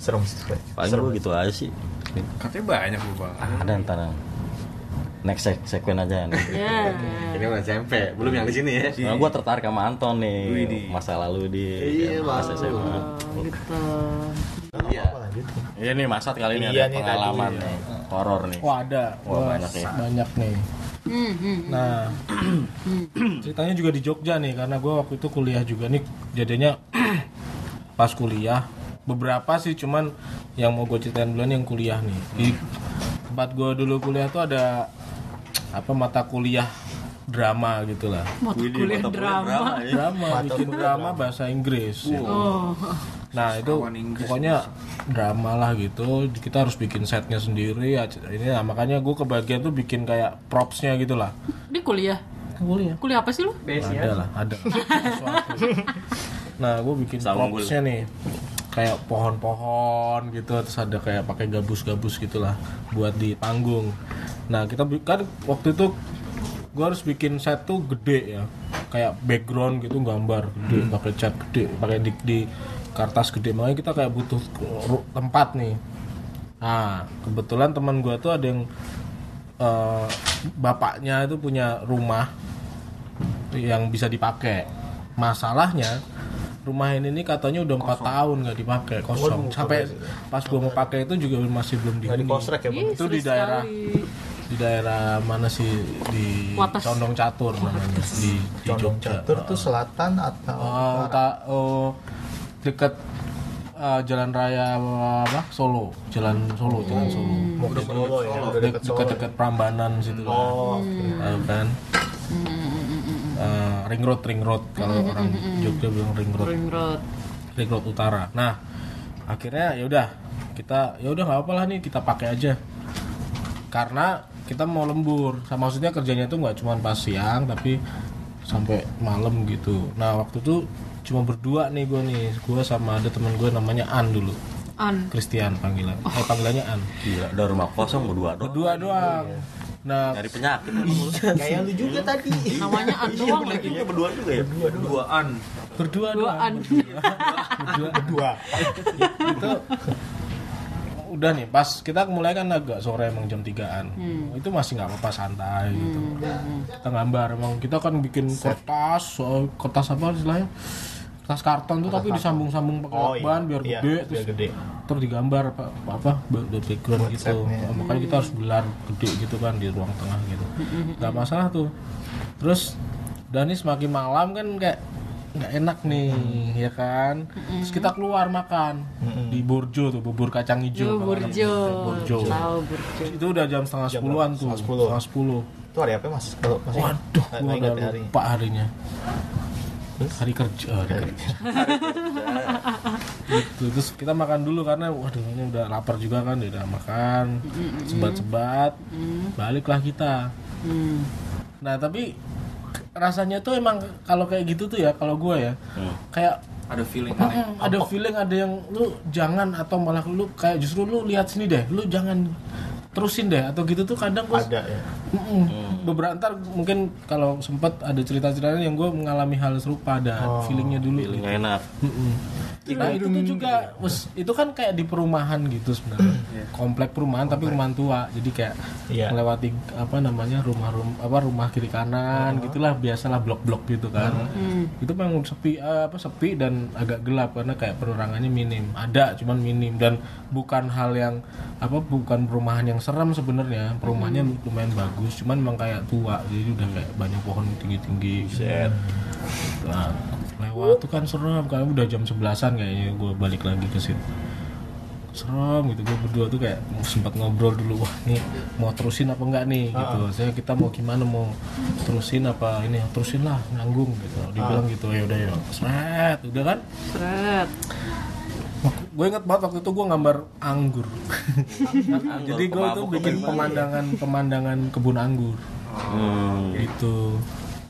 Serem sih.
Paling gue gitu aja sih.
Katanya banyak lu bang.
Ada entar. next sek- sekuen aja nih.
Ya.
Ini udah SMP, belum yang di sini ya.
Nah, gue tertarik sama Anton nih masa lalu kan. di
Iya,
masa
Mas.
SMA.
Oh, gitu.
Iya.
Apa lanjut?
Iya nih Masat kali ini
Iya nih,
ada
tadi,
pengalaman nih, horor nih.
Wah ada,
Wah,
Wah,
banyak ya.
banyak nih.
Hmm, hmm.
Nah, ceritanya juga di Jogja nih, karena gue waktu itu kuliah juga nih, jadinya pas kuliah. Beberapa sih, cuman yang mau gue ceritain duluan yang kuliah nih. Di tempat gue dulu kuliah tuh ada apa mata kuliah drama gitulah.
Mata
Widih,
kuliah
mata kuliah
drama.
drama, ya.
Drama, bikin drama bahasa Inggris. ya.
Oh,
Nah itu pokoknya drama lah gitu kita harus bikin setnya sendiri ya ini lah, makanya gue kebagian tuh bikin kayak propsnya gitu lah
dia kuliah.
kuliah
Kuliah apa sih lu?
ada lah ada Sesuatu. nah gue bikin
Saunggul.
propsnya nih kayak pohon-pohon gitu terus ada kayak pakai gabus-gabus gitulah buat di panggung nah kita bi- kan waktu itu gue harus bikin set tuh gede ya kayak background gitu gambar gede pakai cat gede pakai di, di kertas gede makanya kita kayak butuh ru- tempat nih nah kebetulan teman gue tuh ada yang eh, bapaknya itu punya rumah yang bisa dipakai. Masalahnya rumah ini nih katanya udah empat tahun nggak dipakai kosong. Sampai
ya?
pas gua mau pakai itu juga masih belum
Nggak di
dihuni.
kostrek ya bang?
Itu di daerah di daerah mana sih di
Wates.
Condong Catur namanya di, di
Condong Nah.
Jogja.
Catur tuh selatan atau
Oh, ta- oh, dekat eh, jalan raya apa Solo, jalan Solo,
Hmm.
jalan Solo.
mau ke Solo ya? Udah deket Solo.
Dekat-dekat Prambanan situ lah.
Oh,
Tahu kan?
Hmm.
Eh, ring road, ring road kalau orang
hmm,
Jogja bilang ring road,
Ring road.
ring road utara. Nah, akhirnya ya udah kita ya udah nggak apa-apa lah nih kita pakai aja. Karena kita mau lembur, Sa- maksudnya kerjanya tuh nggak cuma pas siang tapi sampai malam gitu. Nah waktu itu cuma berdua nih gue nih, gue sama ada temen gue namanya An dulu,
An.
Christian panggilan, eh panggilannya An.
Gila, udah rumah kosong berdua doang.
Berdua doang. Nah
Dari penyakit.
kayak lu juga tadi.
Namanya An doang lagi.
Iya berdua juga ya.
duaan
berdua
Dua
doang.
An.
Dua.
itu udah nih pas kita mulai kan agak sore emang jam 3an itu masih nggak apa-apa santai gitu kita gambar emang kita kan bikin kertas so- kertas apa istilahnya kertas karton tuh tapi disambung-sambung pakai
Oh, iya.
lakban biar
Iya,
gede
biar
terus
gede.
terus digambar apa apa buat buat background gitu
setnya.
makanya kita harus gelar gede gitu kan di ruang tengah gitu nggak masalah tuh terus dan ini semakin malam kan kayak nggak enak nih ya kan terus kita keluar makan di Burjo tuh bubur kacang
Jo
hijau kalau anak
Burjo.
Burjo.
Tahu Burjo.
itu udah jam setengah sepuluhan tuh
setengah sepuluh.
setengah sepuluh
Itu hari apa mas? Kalau masih
waduh
Nggak
gua
ingat
udah
hari.
lupa harinya
Terus?
hari kerja hari kerja gitu terus kita makan dulu karena waduh ini udah lapar juga kan udah makan sebat-sebat baliklah kita
Hmm.
nah tapi rasanya tuh emang kalau kayak gitu tuh ya kalau gue ya kayak
Hmm. ada feeling aneh
ada feeling ada yang lu jangan atau malah lu kayak justru lu lihat sini deh lu jangan terusin deh atau gitu tuh kadang gue
Ada ya.
Hmm.
beberapa ntar mungkin kalau sempat ada cerita-cerita yang gue mengalami hal serupa ada
Oh,
feelingnya dulu gitu.
Feeling nggak enak.
Mm-mm. Nah itu tuh juga, wes, itu kan kayak di perumahan gitu sebenarnya, komplek perumahan tapi rumahan tua, jadi kayak
Iya.
melewati apa namanya rumah rumah apa rumah kiri kanan gitulah biasalah blok-blok gitu kan, itu memang sepi eh, apa sepi dan agak gelap karena kayak penerangannya minim, ada cuman minim dan bukan hal yang apa bukan perumahan yang serem sebenarnya, perumahannya lumayan bagus, cuman emang kayak tua jadi udah kayak banyak pohon tinggi-tinggi. gitu. Nah, lewat tuh kan serem karena udah jam sebelasan kayaknya gue balik lagi ke situ serem gitu gue berdua tuh kayak sempat ngobrol dulu wah nih mau terusin apa enggak nih gitu saya kita mau gimana mau terusin apa ini terusin lah nanggung gitu dibilang gitu ya udah ya seret udah kan
Seret.
gue inget banget waktu itu gue gambar anggur jadi gue tuh bikin pemandangan pemandangan kebun anggur
Hmm.
gitu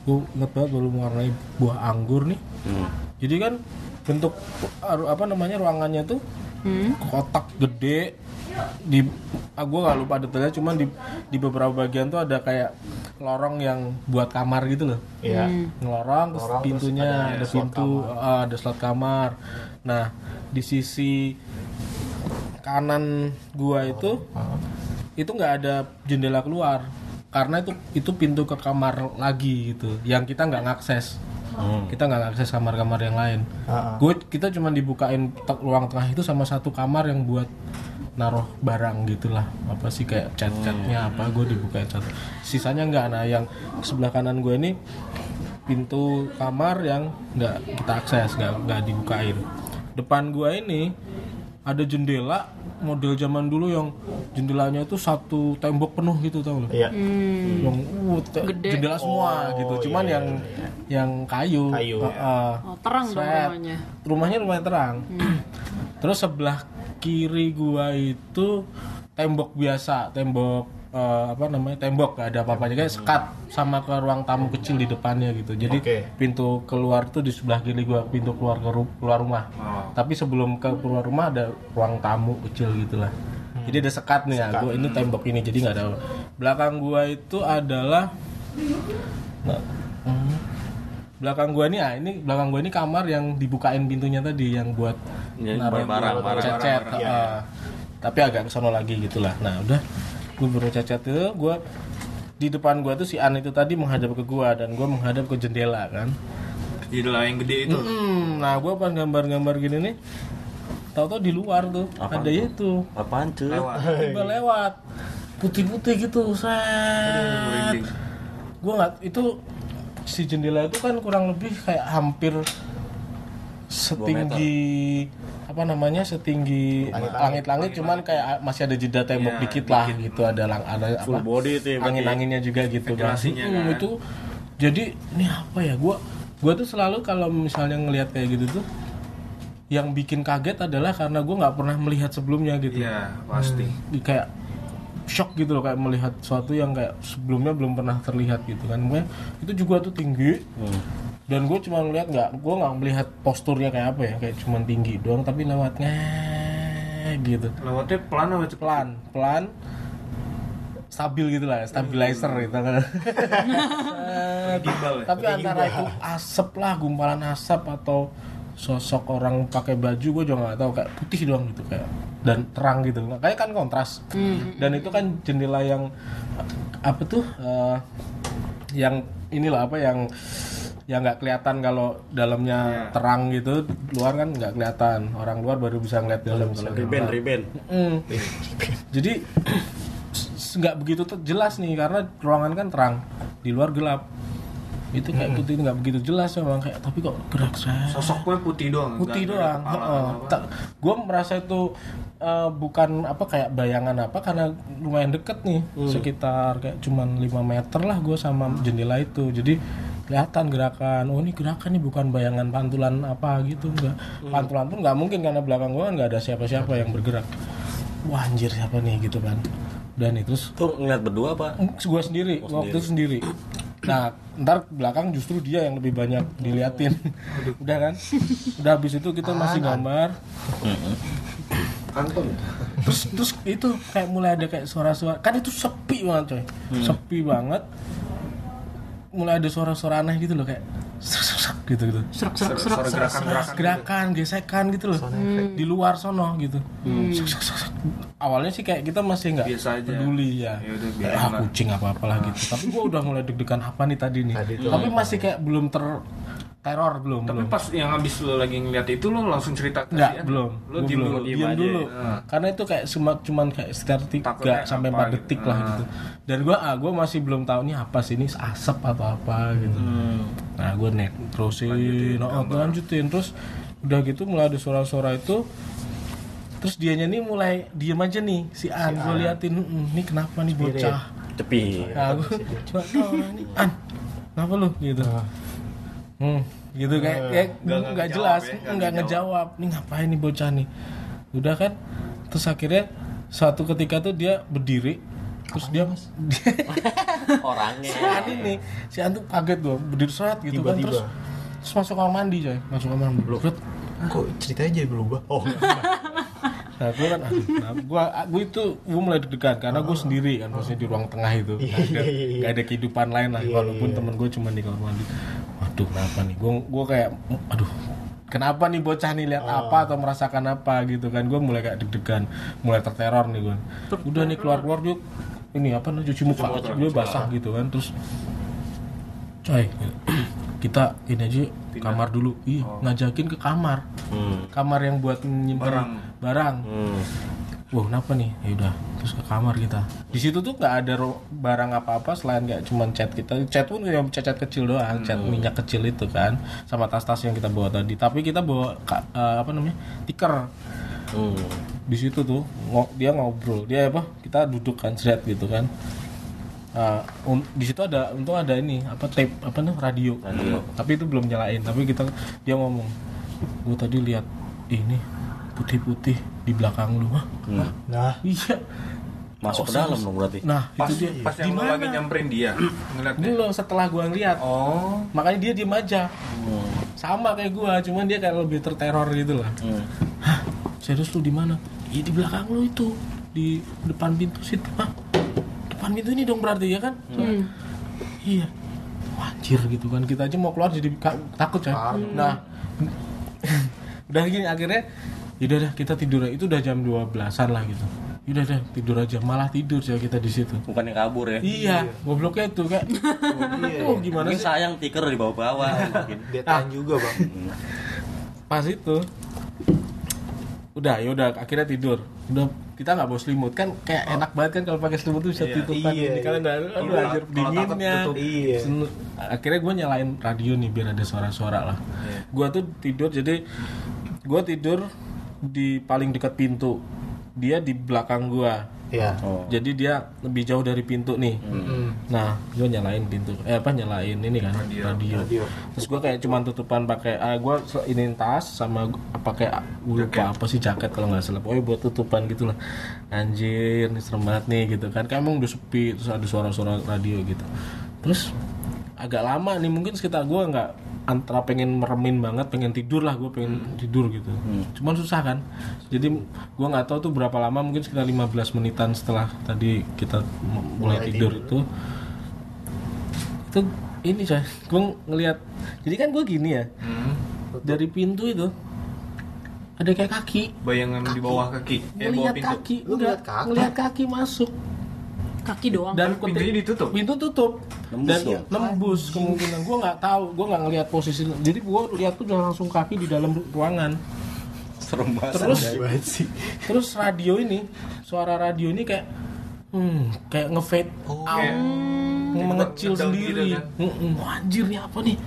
gue inget banget baru mewarnai buah anggur nih
Hmm.
jadi kan bentuk ru- apa namanya ruangannya tuh
Hmm.
kotak gede di ah, gue nggak lupa detailnya cuman di di beberapa bagian tuh ada kayak lorong yang buat kamar gitu loh
Iya.
ngelorong terus
Lorong, terus
pintunya
ada
ada,
slot
pintu ah, ada slot kamar nah di
Oh,
sisi kanan gua itu itu nggak ada jendela keluar karena itu itu pintu ke kamar lagi gitu yang kita nggak ngakses kita nggak ngakses kamar-kamar yang lain gue kita cuma dibukain te- ruang tengah itu sama satu kamar yang buat naruh barang gitulah apa sih kayak cat-catnya apa gue dibukain satu sisanya nggak nah yang sebelah kanan gue ini pintu kamar yang nggak kita akses nggak nggak dibukain depan gua ini ada jendela model zaman dulu yang jendelanya itu satu tembok penuh gitu tau lo
Iya.
Hmm.
yang uh, te- jendela semua gitu cuman yang yang kayu,
Kayu,
Heeh.
Oh, terang dong
Set.
rumahnya. Hmm.
rumahnya lumayan terang terus sebelah kiri gua itu tembok biasa tembok eh, apa namanya tembok gak ada apa-apanya kayak sekat sama ke ruang tamu kecil di depannya gitu jadi
Oke.
pintu keluar tuh di sebelah kiri gua pintu keluar ke ru- keluar rumah tapi sebelum ke keluar rumah ada ruang tamu kecil gitulah jadi ada sekat nih ya gua ini tembok ini jadi nggak ada belakang gua itu adalah Nah, hmm. belakang gua ini ah ini belakang gua ini kamar yang dibukain pintunya tadi yang buat
Ya,
naruh-
barang,
buat
barang,
cecet ah. tapi agak kesono lagi gitulah nah udah gue baru cecet itu gua di depan gua tuh si An itu tadi menghadap ke gua dan gua menghadap ke jendela kan
Jendela yang gede itu.
Hmm, nah gua pas gambar-gambar gini nih tahu-tahu di luar tuh ada itu
Apaan cuy?
tiba lewat putih-putih gitu set gue nggak itu si jendela itu kan kurang lebih kayak hampir setinggi apa namanya setinggi langit-langit cuman kayak masih ada jeda tembok dikit lah gitu ada lang ada
Iya, Full
apa,
body itu ya, berarti. kan.
angin-anginnya juga gitu Bang. Hmm, itu jadi ini apa ya gue gue tuh selalu kalau misalnya ngelihat kayak gitu tuh yang bikin kaget adalah karena gue nggak pernah melihat sebelumnya gitu
Iya, pasti.
di- kayak shock gitu loh kayak melihat sesuatu yang kayak sebelumnya belum pernah terlihat gitu kan Makanya itu juga tuh tinggi
Hmm.
dan gue cuma melihat nggak gue nggak melihat posturnya kayak apa ya kayak cuman tinggi doang tapi lewatnya gitu
Lewatnya pelan apa cepat?
pelan pelan stabil gitu lah ya, stabilizer gitu kan
Gimbal ya.
tapi antara itu asap lah gumpalan asap atau sosok orang pakai baju gue juga nggak tahu kayak putih doang gitu kayak dan terang gitu Nah, kayak kan kontras dan itu kan jendela yang apa tuh eh, yang inilah apa yang yang nggak kelihatan kalau dalamnya terang gitu luar kan nggak kelihatan orang luar baru bisa ngeliat dalam kalau
Riben, riben.
Mm. Jadi s- nggak begitu te- jelas nih karena ruangan kan terang, di luar gelap. Itu kayak putih itu nggak begitu jelas memang kayak tapi kok gerak saya
Sosoknya putih doang.
putih
nggak ada
doang.
kepala apa-apa.
Gue merasa itu eh, bukan apa kayak bayangan apa karena lumayan deket nih
Hmm.
sekitar kayak cuman 5 meter lah gue sama jendela itu. Jadi kelihatan gerakan, oh ini gerakan nih bukan bayangan pantulan apa gitu enggak.
Hmm.
Pantulan pun nggak mungkin karena belakang gue kan nggak ada siapa-siapa yang bergerak. Wah anjir siapa nih gitu kan. Dan itu terus
Tuh ngeliat berdua apa?
gue sendiri waktu itu sendiri nah ntar belakang justru dia yang lebih banyak diliatin udah kan udah habis itu kita masih gambar
Kantong.
terus terus itu kayak mulai ada kayak suara-suara kan itu sepi banget coy sepi banget mulai ada suara-suara aneh gitu loh kayak serak serak, serak gitu gitu
Serak serak serak.
Suara gerakan-gerakan.
gerakan gesekan gitu loh di luar sono gitu Serak, serak, serak, serak. awalnya sih kayak kita masih nggak
Biasa aja.
peduli ya
Ya udah biar
ah kucing apa apalah gitu tapi gua udah mulai deg-degan apa nih tadi nih tapi masih kayak belum ter teror belum
Tapi
belum
pas yang habis lo lagi ngeliat itu lo langsung cerita ke
Enggak,
dia?
belum.
Lo
Gua
diem
belum.
dulu.
Diem dulu. Karena itu kayak cuma cuman kayak sekitar 3
Takutnya
sampai
apa
4
gitu.
detik lah gitu. Dan gua ah, gua masih belum tahu nih apa sih ini asap atau apa gitu.
Hmm.
Nah, gua net terusin, lanjutin, lanjutin terus udah gitu mulai ada suara-suara itu terus dianya nih mulai diem aja nih si An gua liatin "Mm, ini kenapa nih bocah
Cepi.
Nah, aku coba "Oh, ini an. Kenapa lu gitu? Hmm, gitu kayak kayak nggak jelas, nggak ngejawab. Nih ngapain nih bocah nih? Udah kan? Terus akhirnya suatu ketika tuh dia berdiri terus dia
Orangnya.
si An ini si An tuh kaget gua berdiri seret gitu kan
Tiba-tiba.
terus terus masuk kamar mandi coy masuk kamar mandi Seret.
Kok ceritanya jadi berubah? Oh,
Nah, gue kan, aduh, kenapa? Gua, gue itu gue mulai deg-degan karena gue sendiri kan, maksudnya di ruang tengah itu, nggak ada, nggak ada kehidupan lain lah. Walaupun temen gue cuma di kamar mandi. Waduh, kenapa nih? Gue, gue kayak, aduh, kenapa nih bocah nih lihat apa atau merasakan apa gitu kan? Gue mulai kayak deg-degan, mulai terteror nih gue. Udah nih keluar keluar yuk ini apa namanya cuci muka dia basah gitu kan terus coy kita ini aja kamar dulu ih ngajakin ke kamar kamar yang buat nyimpan barang, Wah kenapa nih? Ya udah, terus ke kamar kita. Di situ tuh nggak ada ro- barang apa-apa selain nggak cuman cat kita. Cat pun yang cat-cat kecil doang, cat minyak kecil itu kan, sama tas-tas yang kita bawa tadi. Tapi kita bawa ka- eh, apa namanya tiker. Di situ tuh ngo- dia ngobrol, dia apa? Kita duduk kan seret gitu kan. Eh, un- di situ ada untung ada ini apa tape apa nih radio. Tapi itu belum nyalain. Tapi kita dia ngomong, gue tadi lihat ini putih-putih di belakang lu Hah? Hah?
Nah,
Iya.
Masuk ke dalam dong berarti.
Nah,
Pas,
itu dia.
pas yang lu
Dimana?
lagi nyamperin dia ngeliat dia.
Belum setelah gua ngeliat.
Oh,
Makanya dia diem aja. Sama kayak gua, cuman dia kayak lebih terteror gitu lah. Hah? Serius lu di mana? Iya di belakang lu itu. Di depan pintu situ. Hah? Depan pintu ini dong berarti ya kan? Iya. Wah, Anjir gitu kan kita aja mau keluar jadi ka- takut coy. Nah, udah gini akhirnya yaudah dah kita tidur itu udah jam 12-an lah gitu. Yaudah dah tidur aja malah tidur ya kita di situ.
Bukan yang kabur ya.
Iya, gobloknya itu kayak. Oh, gimana
Mungkin
sih?
sayang tiker di bawah-bawah. mungkin.
detain juga bang.
Pas itu. Udah, ya udah akhirnya tidur. Udah kita nggak bawa selimut kan kayak enak banget kan kalau pakai selimut tuh bisa tutupan
Oh. Iya,
ini kalian udah aduh anjir dinginnya.
Iya.
Selu- Akhirnya gue nyalain radio nih biar ada suara-suara lah.
Iya.
Gue tuh tidur jadi gue tidur di paling dekat pintu. Dia di belakang gue.
Iya.
Jadi dia lebih jauh dari pintu nih.
Hmm.
Nah, gue nyalain pintu. Eh apa nyalain ini kan radio. Terus gue kayak cuman tutupan pakai ah gua gue ini tas sama gua- pakai ah, gua lupa apa sih jaket kalau nggak salah. Pokoknya buat tutupan gitu lah. Anjir, ini serem banget nih gitu kan. Kan emang udah sepi terus ada suara-suara radio gitu. Terus agak lama nih mungkin sekitar gue nggak antara pengen meremin banget pengen tidur lah gue pengen tidur gitu cuman susah kan jadi gue nggak tahu tuh berapa lama mungkin sekitar 15 menitan setelah tadi kita m- mulai tidur, itu itu ini coy gue ngelihat jadi kan gue gini ya
Hmm.
dari pintu itu ada kayak kaki
bayangan di bawah kaki. Eh, bawah
ngelihat
pintu.
kaki
Lu ngeliat
enggak
kaki?
ngelihat kaki masuk
Kaki doang.
dan
Pintunya ditutup.
pintu tutup
Nembus
dan
dong?
nembus kemungkinan gue nggak tahu gue nggak ngelihat posisi jadi gue lihat tuh udah langsung kaki di dalam ruangan
Serem banget.
terus terus radio ini suara radio ini kayak hmm, kayak ngefade out
Kayak-
mengecil
Ngedown
sendiri
gitu kan.
Mm-mm. Wah, anjir nih apa nih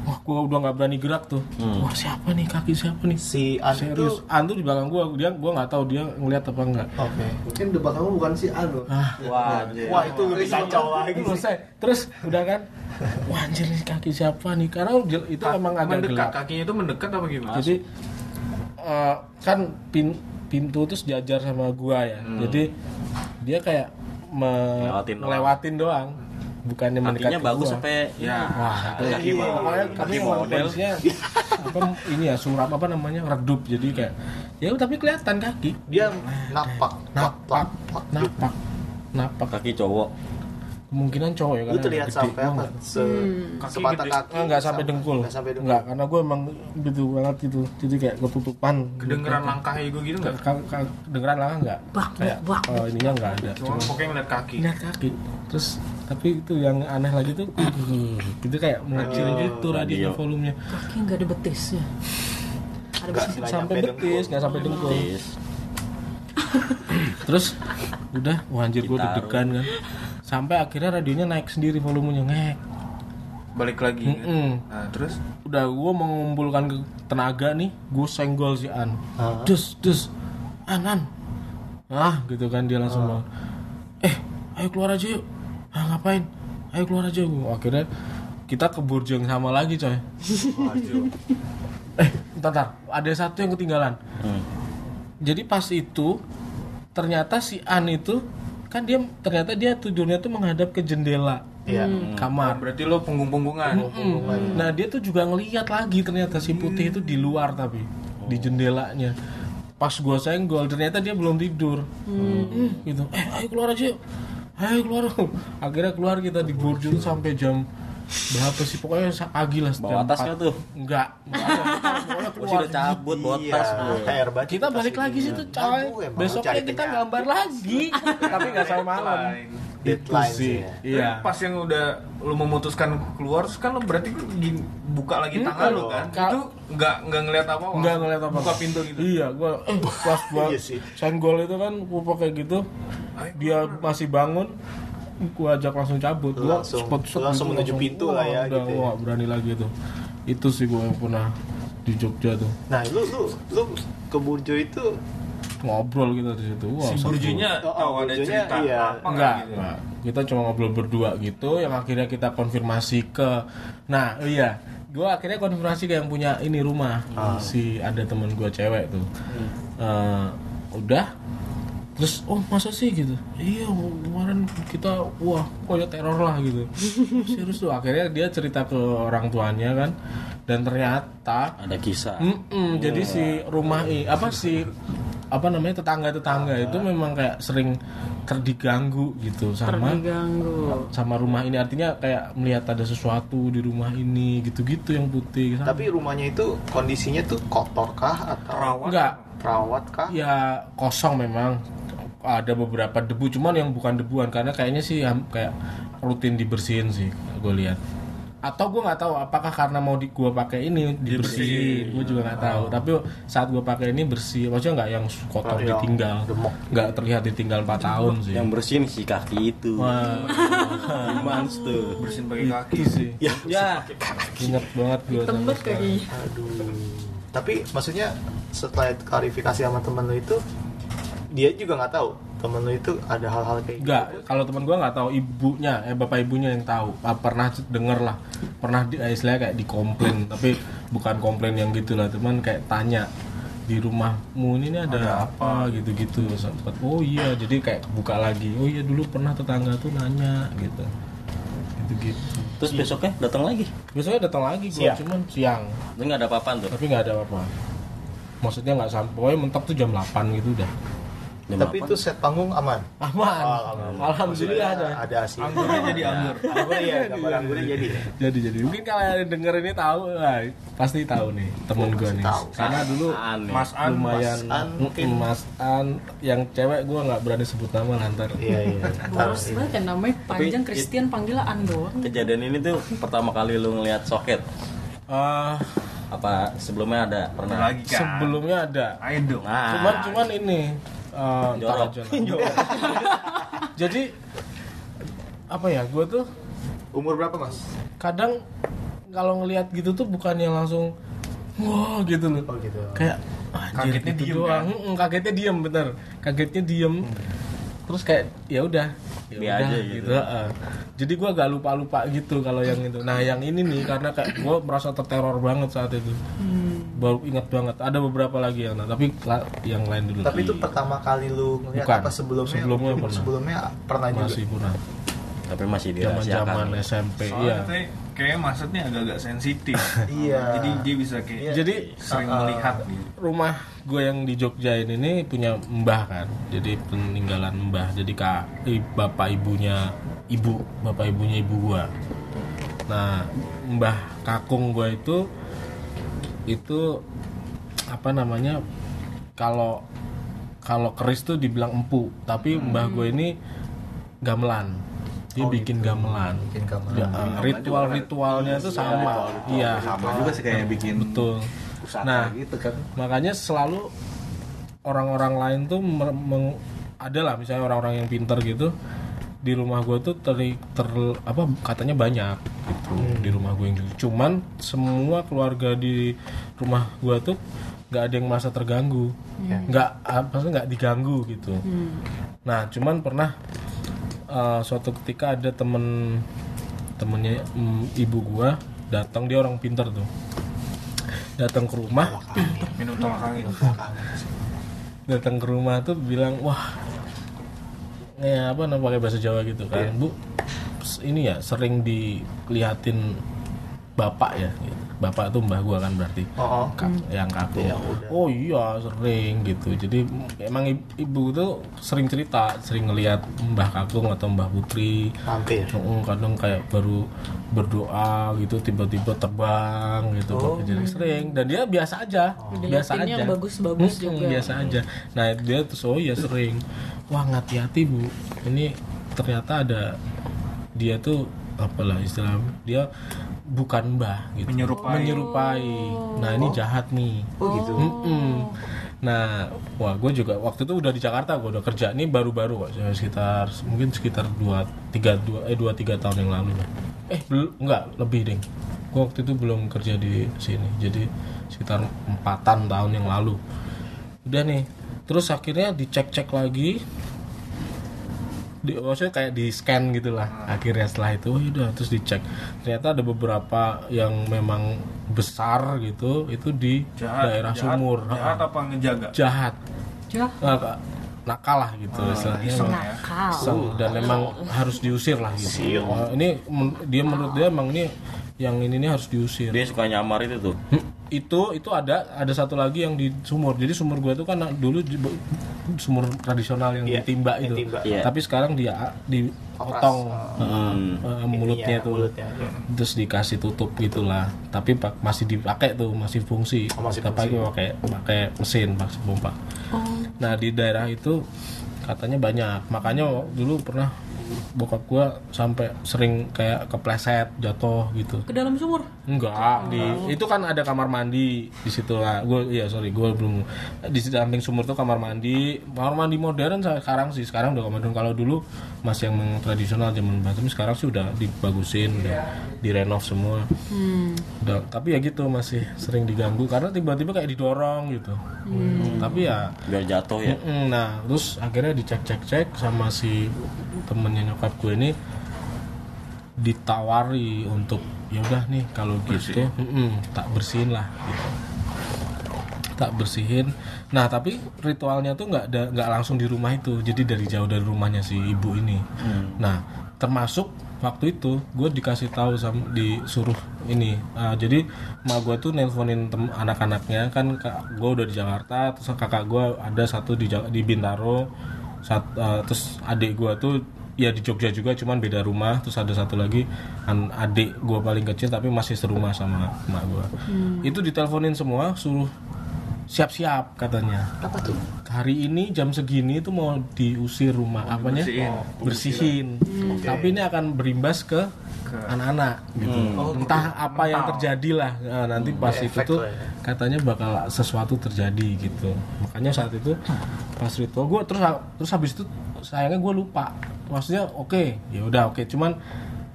wah gue udah nggak berani gerak tuh wah siapa nih kaki siapa nih
Si An itu.
serius antu di belakang gue dia gue nggak tahu dia ngelihat apa enggak
Oke.
Mungkin di belakang lu bukan si Anu. Iya. A loh.
Wah, anjir.
Wah itu lebih kacau lagi.
Terus selesai. Terus udah kan, wah anjir nih kaki siapa nih? Karena jel- itu
Ka-
emang agak
mendekat.
gelap.
Kakinya itu mendekat apa gimana?
Jadi eh, kan pin- pintu terus jajar sama gua ya.
Hmm.
Jadi dia kayak me-
Ngelewatin doang.
ngelewatin doang, bukannya mendekat
Kakinya
ke
bagus
gua.
sampai ya.
ya,
Wah, itu
Kaki
iya,
model.
makanya kami
Kaki
emang
model.
kondisinya apa ini ya suram apa namanya redup jadi kayak ya tapi kelihatan kaki
Dia napak.
napak napak napak
Kaki cowok.
kemungkinan cowok ya
Lu
karena
terlihat
gede.
sampai
Gua
apa?
nggak-
Se
Kaki
sepatah
gede.
kaki.
Ah, nggak sampai dengkul.
Nggak sampai dengkul.
Nggak, karena gue emang gitu banget gitu. Jadi kayak ketutupan. gitu.
kedengeran langkah ego gitu nggak?
Ka- ka- Kedengeran lah nggak?
Bak,
Kayak
bak, bak.
oh, ininya nggak ada.
Cuma pokoknya ngeliat kaki.
Lihat kaki. Terus tapi itu yang aneh lagi tuh itu kayak mengecil gitu radionya
radio.
volumenya
Kaki nggak ada ya. betisnya. Ada betis.
sampai betis nggak sampai dengkul
Tis.
terus udah wah anjir gue
Ditaruh.
deg-degan kan sampai akhirnya radionya naik sendiri volumenya ngek
Balik lagi.
Mm-mm.
Nah, terus
udah gue mengumpulkan ke tenaga nih gue senggol si An dus dus An An ah gitu kan dia langsung bangun. eh ayo keluar aja yuk ah ngapain ayo keluar aja Gua- akhirnya kita ke burjo yang sama lagi coy eh bentar, bentar ada satu yang ketinggalan jadi pas itu ternyata si An itu kan dia ternyata dia tidurnya tuh menghadap ke jendela
Iya.
kamar
berarti lo punggung-punggungan.
Mm. Nah dia tuh juga ngeliat lagi ternyata si putih itu di luar tapi di jendelanya. Pas gua senggol ternyata dia belum tidur. Mm, Gitu. Eh ayo keluar aja. yuk. Ayo keluar. Akhirnya keluar kita di Burjo tuh sampai jam berapa sih pokoknya sa- pagi lah.
Bawa
jam
atasnya
empat.
tuh.
Enggak. Enggak ada.
Gue
nggak
Pokoknya
sih
keluar
udah cabut buat tas gua.
Iya, air baju
kita
tas
balik
ini.
lagi situ coy
Iya. Aduh, emang
besoknya
cari
kita
penyakit.
gambar lagi tapi nggak sampai malam
deadline sih
sih
ya.
iya
Pas yang udah lu memutuskan keluar, terus kan lu berarti gini, buka lagi tangan lu kan?
Ka-
Itu nggak nggak ngeliat apa apa.
Iya, nggak ngeliat apa
Buka pintu gitu.
iya gua pas gua
Iya sih.
senggol itu kan gua pakai gitu dia masih bangun gua ajak langsung cabut
Lu
gua
langsung-
spot shot
lu langsung
gitu,
menuju pintu
wah,
lah ya,
udah,
gitu ya.
gua nggak berani lagi tuh itu sih gua yang pernah di Jogja tuh
nah lu lu lu ke Burjo itu
ngobrol kita di situ wah
Si
seru.
Burjunya
Oh, oh,
tahu ada
Burjunya,
cerita
iya.
apa nggak
Enggak,
gitu?
enggak. Nah, Kita cuma ngobrol berdua gitu yang akhirnya kita konfirmasi ke Nah, iya. Gua akhirnya konfirmasi ke yang punya ini rumah.
Ah.
Si ada temen gua cewek tuh.
Hmm.
Eh, udah Terus, oh masa sih gitu? Iya, kemarin kita, wah, kayak teror lah gitu. Serius tuh, akhirnya dia cerita ke orang tuanya kan. Dan ternyata
Ada kisah.
Mm-mm, jadi si rumah i apa si apa namanya tetangga-tetangga itu memang kayak sering terdiganggu gitu sama
terganggu
sama rumah ini artinya kayak melihat ada sesuatu di rumah ini gitu-gitu yang putih sama.
tapi rumahnya itu kondisinya tuh kotor kah atau
Rawan.
enggak
perawat kah
ya kosong memang ada beberapa debu cuman yang bukan debuan karena kayaknya sih ham- kayak rutin dibersihin sih gue lihat atau gue nggak tahu apakah karena mau di gue pakai ini dibersihin gue juga nggak tahu tapi saat gue pakai ini bersih maksudnya nggak yang
Nggak
kotor
yang
ditinggal
iya. gemuk.
nggak terlihat ditinggal 4 tahun sih
Yang bersihin si kaki itu.
Wah,
Gimana tuh?
Bersihin pakai kaki.
itu sih
Ya, ya.
inget Iya. banget gue
tembet kakinya
aduh tapi maksudnya setelah klarifikasi sama temen lu itu dia juga nggak tahu temen lu itu ada hal-hal kayak gitu
Enggak, kalau teman gua nggak tahu ibunya, eh bapak ibunya yang tahu. Ah, pernah denger lah, pernah di, eh, istilahnya kayak dikomplain, tapi bukan komplain yang gitu lah, teman kayak tanya di rumahmu ini nih ada, apa gitu-gitu sempat oh iya jadi kayak kebuka lagi oh iya dulu pernah tetangga tuh nanya gitu gitu gitu
Terus besoknya datang lagi.
biasanya datang lagi gua cuman siang
Ini nggak ada apa-apaan tuh.
tapi nggak ada apa-apa maksudnya nggak sampai pokoknya mentok tuh jam 8 gitu udah
tapi itu set panggung aman Oh,
aman alhamdulillah ada
ada asli
Anggurnya jadi anggur.
anggurnya ya
Iya,
gambar anggurnya jadi
jadi jadi mungkin kalau yang denger ini tahu lah, pasti tahu nih temen gue nih
tahu.
karena dulu
Aneh.
Mas An,
lumayan
Mas An mungkin.
Mm, Mas An yang cewek gue nggak berani sebut nama lah, ntar
iya iya Ntar-
boros banget yang namanya panjang Christian panggilan doang
Kejadian ini tuh pertama kali lu ngelihat soket.
Eh,
Apa sebelumnya ada pernah?
Lagi kan.
sebelumnya ada
Ayo dong.
Nah,
cuman cuman ini eh,
jorok.
ntar aja lah. jadi apa ya gue tuh
umur berapa mas
kadang kalau ngelihat gitu tuh bukannya langsung wah gitu loh
oh gitu
kayak anjir,
Kagetnya
gitu
diem,
doang Mm, kagetnya diem bener kagetnya diem terus kayak ya udah ya
Bi
udah,
aja gitu.
heeh. jadi gua agak lupa lupa gitu kalau yang itu nah yang ini nih karena kayak gua merasa terteror banget saat itu baru ingat banget ada beberapa lagi yang nah, tapi la- yang lain dulu
tapi itu pertama kali lu ngeliat
Bukan.
apa sebelumnya
Sebelumnya pernah.
sebelumnya pernah
masih
juga
pernah
Tapi masih
zaman zaman
ya.
dirahasiakan.
SMP iya
Soalnya katanya kayaknya maksudnya agak-agak sensitif.
Iya.
Jadi dia bisa kayak
Iya. jadi uh,
sering melihat gitu.
rumah gue yang di Jogja ini nih punya mbah kan jadi peninggalan mbah jadi kak i- bapak ibunya ibu bapak ibunya ibu gue nah mbah kakung gue itu itu apa namanya kalau kalau keris tuh dibilang empuk tapi
Hmm.
mbah gue ini gamelan
Oh,
dia
gitu.
bikin gamelan
bikin kamar
Ya, ritual
kan?
ritualnya itu sama iya
sama juga sih kayak bikin
betul
pusaka
nah
gitu kan
makanya selalu orang-orang lain tuh mer- meng, ada lah misalnya orang-orang yang pinter gitu di rumah gue tuh ter, ter- apa katanya banyak gitu di rumah gue yang gitu. cuman semua keluarga di rumah gue tuh nggak ada yang merasa terganggu nggak apa sih, nggak diganggu gitu nah cuman pernah eh, suatu ketika ada temen temennya mm, ibu gue datang dia orang pinter tuh datang ke rumah
Minum tolak angin.
datang ke rumah tuh bilang wah ya apa namanya pakai bahasa Jawa gitu kan bu s- ini ya sering dikelihatin bapak ya gitu. bapak tuh mbah gua kan berarti
Oh, oh.
Kak- yang kaku oh iya sering gitu jadi emang i- ibu tuh sering cerita sering ngelihat mbah kakung atau mbah putri
hampir.
Mm, kadang kayak baru berdoa gitu tiba-tiba terbang gitu Pak. jadi sering dan dia biasa aja biasa
Liatin
aja
yang bagus-bagus
Mm,
juga.
biasa aja nah dia terus oh ya sering wah hati-hati bu ini ternyata ada dia tuh apalah istilah dia bukan mbah gitu
Menyerupai.
menyerupai nah ini jahat nih oh gitu nah wah gue juga waktu itu udah di Jakarta gue udah kerja ini baru-baru kok sekitar mungkin sekitar dua tiga dua eh dua tiga tahun yang lalu lah eh belum enggak lebih deh gue waktu itu belum kerja di sini jadi sekitar empatan tahun yang lalu udah nih terus akhirnya dicek-cek lagi di, maksudnya kayak di scan gitulah akhirnya setelah itu oh, udah terus dicek ternyata ada beberapa yang memang besar gitu itu di daerah sumur
jahat
Ha,
apa ngejaga
jahat
Jah,
Nah, nakal lah gitu
Oh,
istilahnya memang
nakal.
Iseng, dan memang harus diusir lah gitu Nah, ini men- dia menurut dia emang ini yang ini ini harus diusir
Dia suka nyamar itu tuh.
Hmm, itu itu ada ada satu lagi yang di sumur jadi sumur gua itu kan dulu di- sumur tradisional yang
Iya,
ditimba
yang
itu
timba. Oh.
Iya.
tapi sekarang dia dipotong
Hmm.
eh,
Hmm.
eh, mulutnya
Iya,
tuh
mulutnya, iya.
terus dikasih tutup gitulah tapi pak- masih dipakai tuh masih fungsi
Oh, masih
Kita pakai pakai pakai mesin pakai pompa
Oh,
nah di daerah itu katanya banyak makanya dulu pernah bokap gua sampai sering kayak kepleset jatuh gitu
Ke dalam sumur.
Enggak, di itu kan ada kamar mandi di situ lah. Gue iya sorry, gue belum di samping sumur tuh kamar mandi. Kamar mandi modern sekarang sih, sekarang udah kamar modern. Kalau dulu masih yang tradisional zaman Batam, sekarang sih udah dibagusin, udah direnov semua. Udah, tapi ya gitu masih sering diganggu karena tiba-tiba kayak didorong gitu. Tapi ya
Biar jatuh ya.
Mm-mm, Nah, terus akhirnya dicek-cek-cek sama si temennya nyokap gue ini ditawari untuk ya udah nih kalau gitu mm-mm, tak bersihin lah gitu. Tak bersihin. Nah, tapi ritualnya tuh nggak da- nggak langsung di rumah itu. Jadi dari jauh dari rumahnya si ibu ini. Nah, termasuk waktu itu gue dikasih tahu sama disuruh ini Ah, jadi ma gue tuh nelponin tem- anak-anaknya kan gue udah di Jakarta terus kakak gue ada satu di Ja- di Bintaro sat- eh, terus adik gue tuh ya di Jogja juga cuman beda rumah terus ada satu lagi an- adik gue paling kecil tapi masih serumah sama emak gue itu diteleponin semua suruh siap-siap katanya
Apa tuh?
hari ini jam segini itu mau diusir rumah apanya
dibersihin.
Oh, bersihin tapi ini akan berimbas ke anak-anak gitu entah apa yang terjadi lah Nah, nanti pas itu
efek
tuh
lah ya.
katanya bakal sesuatu terjadi gitu makanya saat itu pas ritual gue terus terus habis itu sayangnya gue lupa maksudnya oke ya udah oke cuman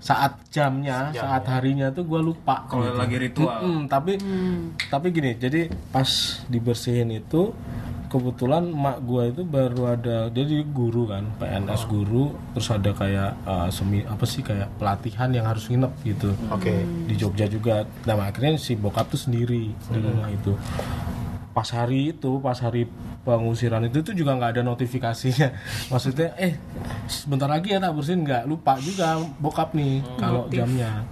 saat jamnya saat harinya tuh gue lupa
kalau
gitu.
lagi ritual
Mm-mm, tapi tapi gini, jadi pas dibersihin itu kebetulan mak gua itu baru ada jadi guru kan, PNS guru, terus ada kayak eh, semi apa sih kayak pelatihan yang harus nginep gitu.
Oke.
Di Jogja juga. Nah, akhirnya si bokap tuh sendiri di rumah itu. Pas hari itu, pas hari pengusiran itu tuh juga nggak ada notifikasinya. Maksudnya eh sebentar lagi ya tak bersihin nggak lupa juga bokap nih kalau jamnya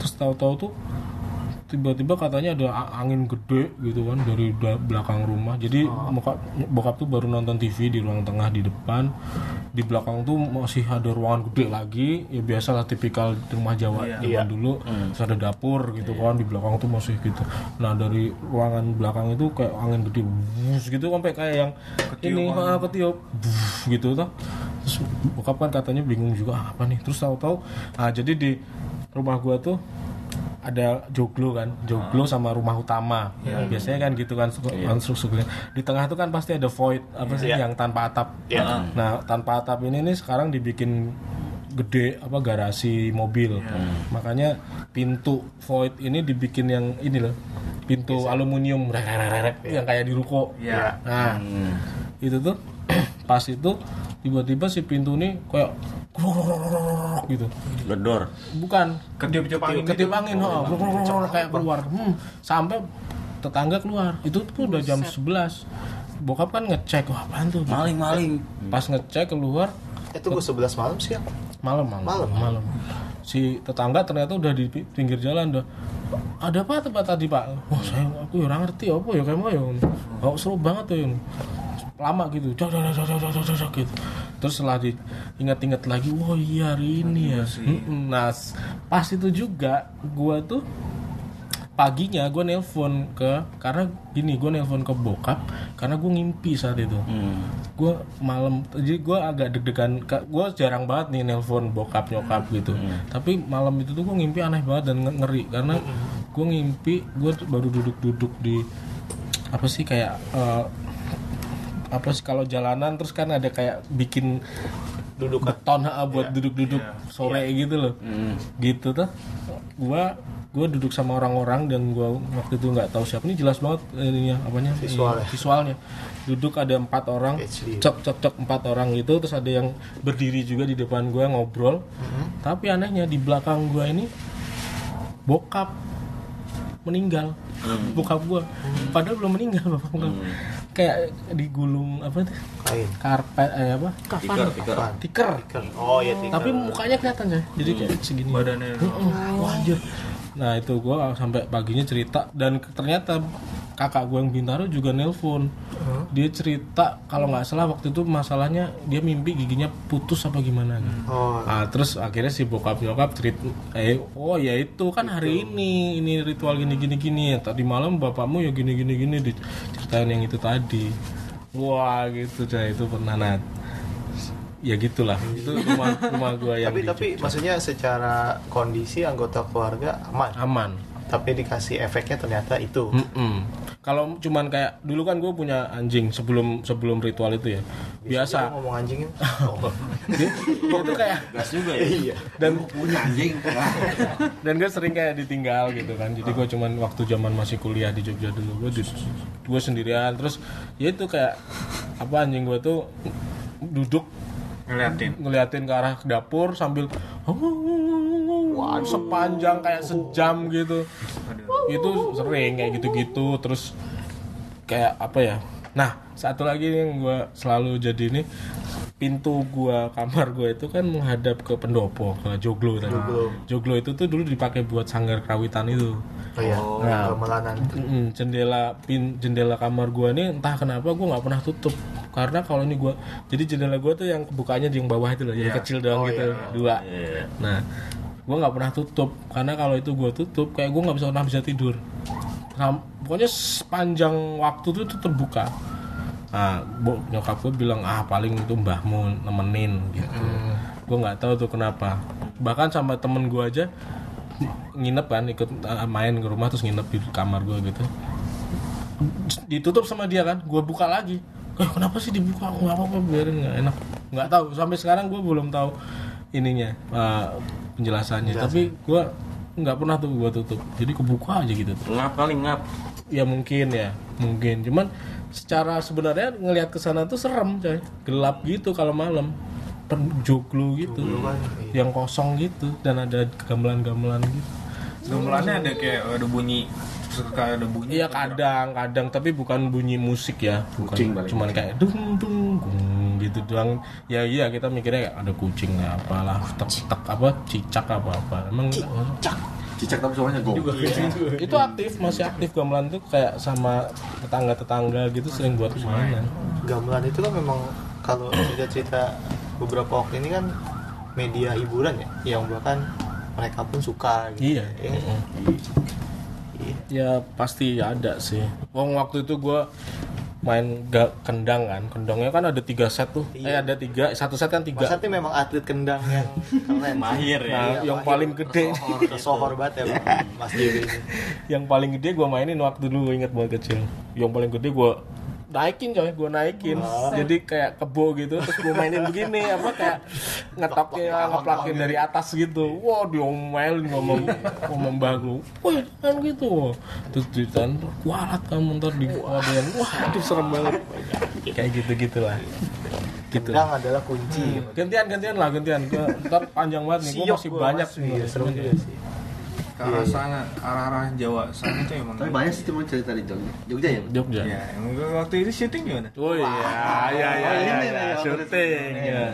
terus tahu-tahu tuh tiba-tiba katanya ada a- angin gede gitu kan dari da- belakang rumah jadi bokap, bokap tuh baru nonton TV di ruang tengah di depan di belakang tuh masih ada ruangan gede lagi ya biasalah tipikal rumah Jawa zaman dulu terus ada dapur gitu kan di belakang tuh masih gitu nah dari ruangan belakang itu kayak angin gede bus gitu sampai kayak yang ini ah, ketiup bus gitu tuh terus bokap kan katanya bingung juga "Ah, apa nih terus tahu-tahu ah jadi di rumah gua tuh ada joglo kan joglo sama rumah utama biasanya kan gitu kan suku- konstruksinya di tengah tuh kan pasti ada void apa sih yang tanpa atap nah tanpa atap ini nih sekarang dibikin gede apa garasi mobil Hmm. makanya pintu void ini dibikin yang ini loh pintu aluminium rek, rek, rek, rek, yang kayak di ruko
ya
Nah, itu tuh pas itu tiba-tiba si pintu ini kayak gitu.
Gedor.
Bukan,
ketiup-tiup angin
ketiup angin oh, brr, brr, brr, kayak keluar Hmm, sampai tetangga keluar itu tuh udah jam 11 bokap kan ngecek wah apaan tuh
Maling-maling.
pas ngecek keluar
Itu gue 11 malam siang.
malam malam
Malam.
malam si tetangga ternyata udah di pi- pinggir jalan udah ada apa tempat tadi pak wah saya aku ya orang ngerti apa ya kayak mau ya kok seru banget ya lama gitu jauh jauh jauh jauh jauh jauh gitu terus setelah diingat-ingat lagi wah iya hari ini ya Mm-mm. nah s- pas itu juga gua tuh paginya gue nelpon ke karena gini gue nelpon ke bokap karena gue ngimpi saat itu gue malam jadi gue agak deg-degan gue jarang banget nih nelpon bokap nyokap gitu tapi malam itu tuh gue ngimpi aneh banget dan nge- ngeri karena gue ngimpi gue baru duduk-duduk di apa sih kayak eh, apa sih kalau jalanan terus kan ada kayak bikin
duduk
beton ha, buat duduk-duduk sore gitu loh gitu tuh gua gua duduk sama orang-orang dan gua waktu itu nggak tahu siapa ini jelas banget eh, ininya apanya
Visualnya.
Ini, visualnya duduk ada empat orang
HD.
cok cok cok empat orang gitu terus ada yang berdiri juga di depan gua ngobrol tapi anehnya di belakang gua ini bokap meninggal bokap gua padahal belum meninggal bapak gua. kayak digulung apa tuh
kain
karpet eh apa
Kafan.
Apaan?
tiker
Tikar. oh iya tikar
tapi mukanya kelihatan ya jadi kayak segini Hmm,
badannya
Wah, anjir. nah itu gua sampai paginya cerita dan ke- ternyata kakak gue yang bintaro juga nelpon dia cerita kalau nggak salah waktu itu masalahnya dia mimpi giginya putus apa gimana gitu.
oh
Ah, terus akhirnya si bokap nyokap cerita eh oh ya itu kan hari ini ini ritual gini gini gini ya tadi malam bapakmu ya gini gini gini diceritain yang itu tadi wah gitu dah itu pernah nah ya gitulah itu rumah rumah gua yang
tapi
di-
tapi maksudnya secara kondisi anggota keluarga aman
aman
tapi dikasih efeknya ternyata itu
Mm-mm. kalau cuman kayak dulu kan gue punya anjing sebelum sebelum ritual itu ya
Dia
biasa
Iya, ngomong anjingin oh.
dia, dia tuh kayak
Gas juga ya.
dan
punya anjing
dan gue sering kayak ditinggal gitu kan jadi gue cuman waktu zaman masih kuliah di Jogja dulu gue gue sendirian terus ya itu kayak apa anjing gue tuh duduk
ngeliatin
ngeliatin ke arah dapur sambil sepanjang kayak sejam gitu itu sering kayak gitu-gitu terus kayak apa ya nah satu lagi yang gue selalu jadi ini pintu gua kamar gue itu kan menghadap ke pendopo ke joglo tadi joglo itu tuh dulu dipakai buat sanggar kerawitan itu
oh iya gamelan
Mm-mm, Mm, jendela pin jendela kamar gua nih entah kenapa gua nggak pernah tutup karena kalau ini gua jadi jendela gua tuh yang kebukanya di yang bawah itu loh yang kecil doang gitu dua nah gua nggak pernah tutup karena kalau itu gua tutup kayak gua nggak bisa pernah bisa tidur Sam- pokoknya sepanjang waktu tuh itu terbuka nah bo- nyokap gua bilang ah paling itu mbahmu nemenin gitu gua nggak tahu tuh kenapa bahkan sama temen gua aja nginep kan ikut uh, main ke rumah terus nginep di kamar gue gitu ditutup sama dia kan gue buka lagi eh kenapa sih dibuka aku nggak apa-apa biarin nggak enak nggak tahu sampai sekarang gue belum tahu ininya uh, penjelasannya tapi gue nggak pernah tuh gue tutup jadi kebuka aja gitu
Ngap kali ngap.
ya mungkin ya mungkin cuman secara sebenarnya ngelihat ke sana tuh serem coy gelap gitu kalau malam Pen- joglo gitu
kan, iya.
yang kosong gitu dan ada gamelan-gamelan gitu
gemelannya ada kayak ada bunyi suka ada bunyi
Iya kadang, kadang tapi bukan bunyi musik ya, bukan cuman kayak dung dung gung gitu doang. Ya iya kita mikirnya kayak ada kucing lah apalah, tek tek apa cicak apa apa. Emang
cicak tapi suaranya go
itu aktif, masih aktif gamelan tuh kayak sama tetangga-tetangga gitu sering buat mainan.
gamelan itu kan memang kalau cerita-cerita beberapa waktu ini kan media hiburan ya yang bahkan mereka pun suka gitu
Iya.
Ya.
Ya pasti ada sih. Wong waktu itu gua main ga kendang kan, kendangnya kan ada tiga set tuh. Eh ada tiga, satu set kan tiga.
Mas Santi memang atlet kendang yang keren sih.
Mahir ya.
Nah, yang paling gede.
Sohor- sohor banget ya Bang. Mas Diri ini
yang paling gede gue mainin waktu dulu inget banget kecil yang paling gede gue naikin coy gue naikin jadi kayak kebo gitu terus gue mainin begini apa kayak ngetoknya ngeplakin dari atas gitu wah diomelin ngomong ngomong bagus wah kan gitu terus diceritain kualat kamu ntar di kuadain wah aduh serem banget kayak gitu gitulah gitu
kendang adalah kunci
gantian gantian lah gantian gua, ntar panjang banget nih
Siok
gue Mm. masih
gua,
banyak
Mas. Iya, seru juga sih
ke arah sana arah arah Jawa sana itu emang
tapi banyak sih cuma cerita di Jogja Jogja ya
Jogja
ya emang waktu itu syuting gimana Ya,
Oh iya, iya, iya,
Oh,
iya,
ini
iya,
nih,
syuting ya.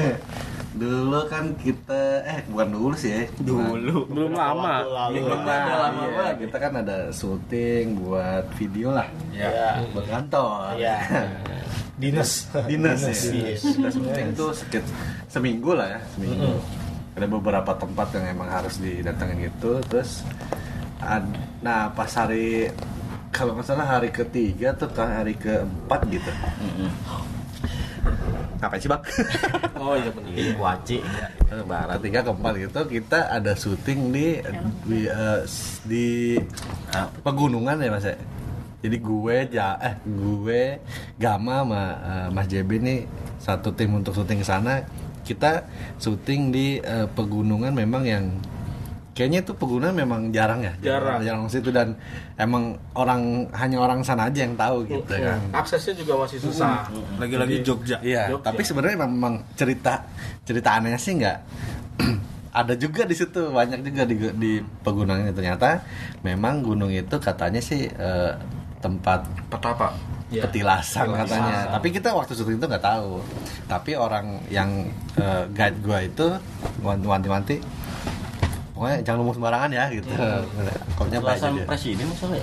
dulu kan kita eh bukan dulu sih ya
dulu
belum lama
Waktu lalu.
belum ada lama banget kita kan ada syuting buat video lah
Ya.
buat kantor
Iya. Dinas. Iya.
dinas ya
Dinas.
kita syuting tuh sekitar seminggu lah ya seminggu ada beberapa tempat yang emang harus didatangin gitu terus ad- nah pas hari kalau nggak salah hari ketiga tuh ke hari keempat gitu ngapain sih bang
oh iya benar waci lebaran
ketiga keempat gitu kita ada syuting di di, eh, s- di pegunungan ya mas ya jadi gue ja eh gue Gama sama eh, Mas JB nih satu tim untuk syuting ke sana kita syuting di eh, pegunungan memang yang kayaknya itu pegunungan memang jarang ya jarang jarang situ dan emang orang hanya orang sana aja yang tahu gitu kan
aksesnya juga masih susah lagi-lagi Jogja
Iya, tapi sebenarnya memang cerita cerita anehnya sih nggak ada juga di situ banyak juga di di pegunungan itu. ternyata memang gunung itu katanya sih eh, tempat Iya.
petapa
petilasan
Iya,
katanya tapi kita waktu syuting itu nggak tahu tapi orang yang eh, guide gua itu wanti-wanti pokoknya jangan ngomong sembarangan ya gitu
Iya.
pokoknya baik
Alasan
aja.
presiden ya? maksudnya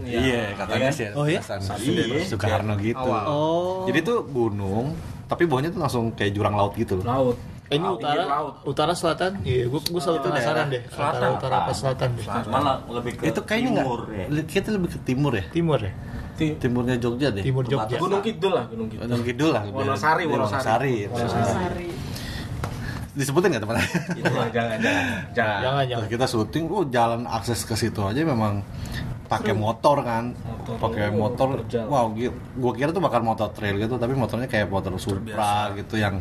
Iya, katanya sih. Oh iya? Iya, Soekarno gitu. Oh. Jadi tuh gunung, tapi bawahnya tuh langsung kayak jurang laut gitu loh.
laut
Eh, Ini
iya,
utara, utara selatan. Iya, gua gua selalu penasaran deh. Antara utara apa selatan deh?
malah lebih ke
Nah, Itu kayaknya nggak,
timur ya
li- kita lebih ke timur ya.
Timur ya?
Timurnya Jogja deh.
Timur Jogja.
Gunung Kidul lah Gunung Kidul
Gunung Kidul lah. lebih-
Wonosari,
lebih
Wonosari.
Wonosari. iya.
Sari.
Disebutin nggak teman?
Itulah, jangan jangan
Nah,
jangan
Jangan jangan.
Terus kita syuting, oh jalan akses ke situ aja memang pakai motor kan, pakai motor, wow, gi- gua kira tuh bakal motor trail gitu, tapi motornya kayak motor Supra gitu yang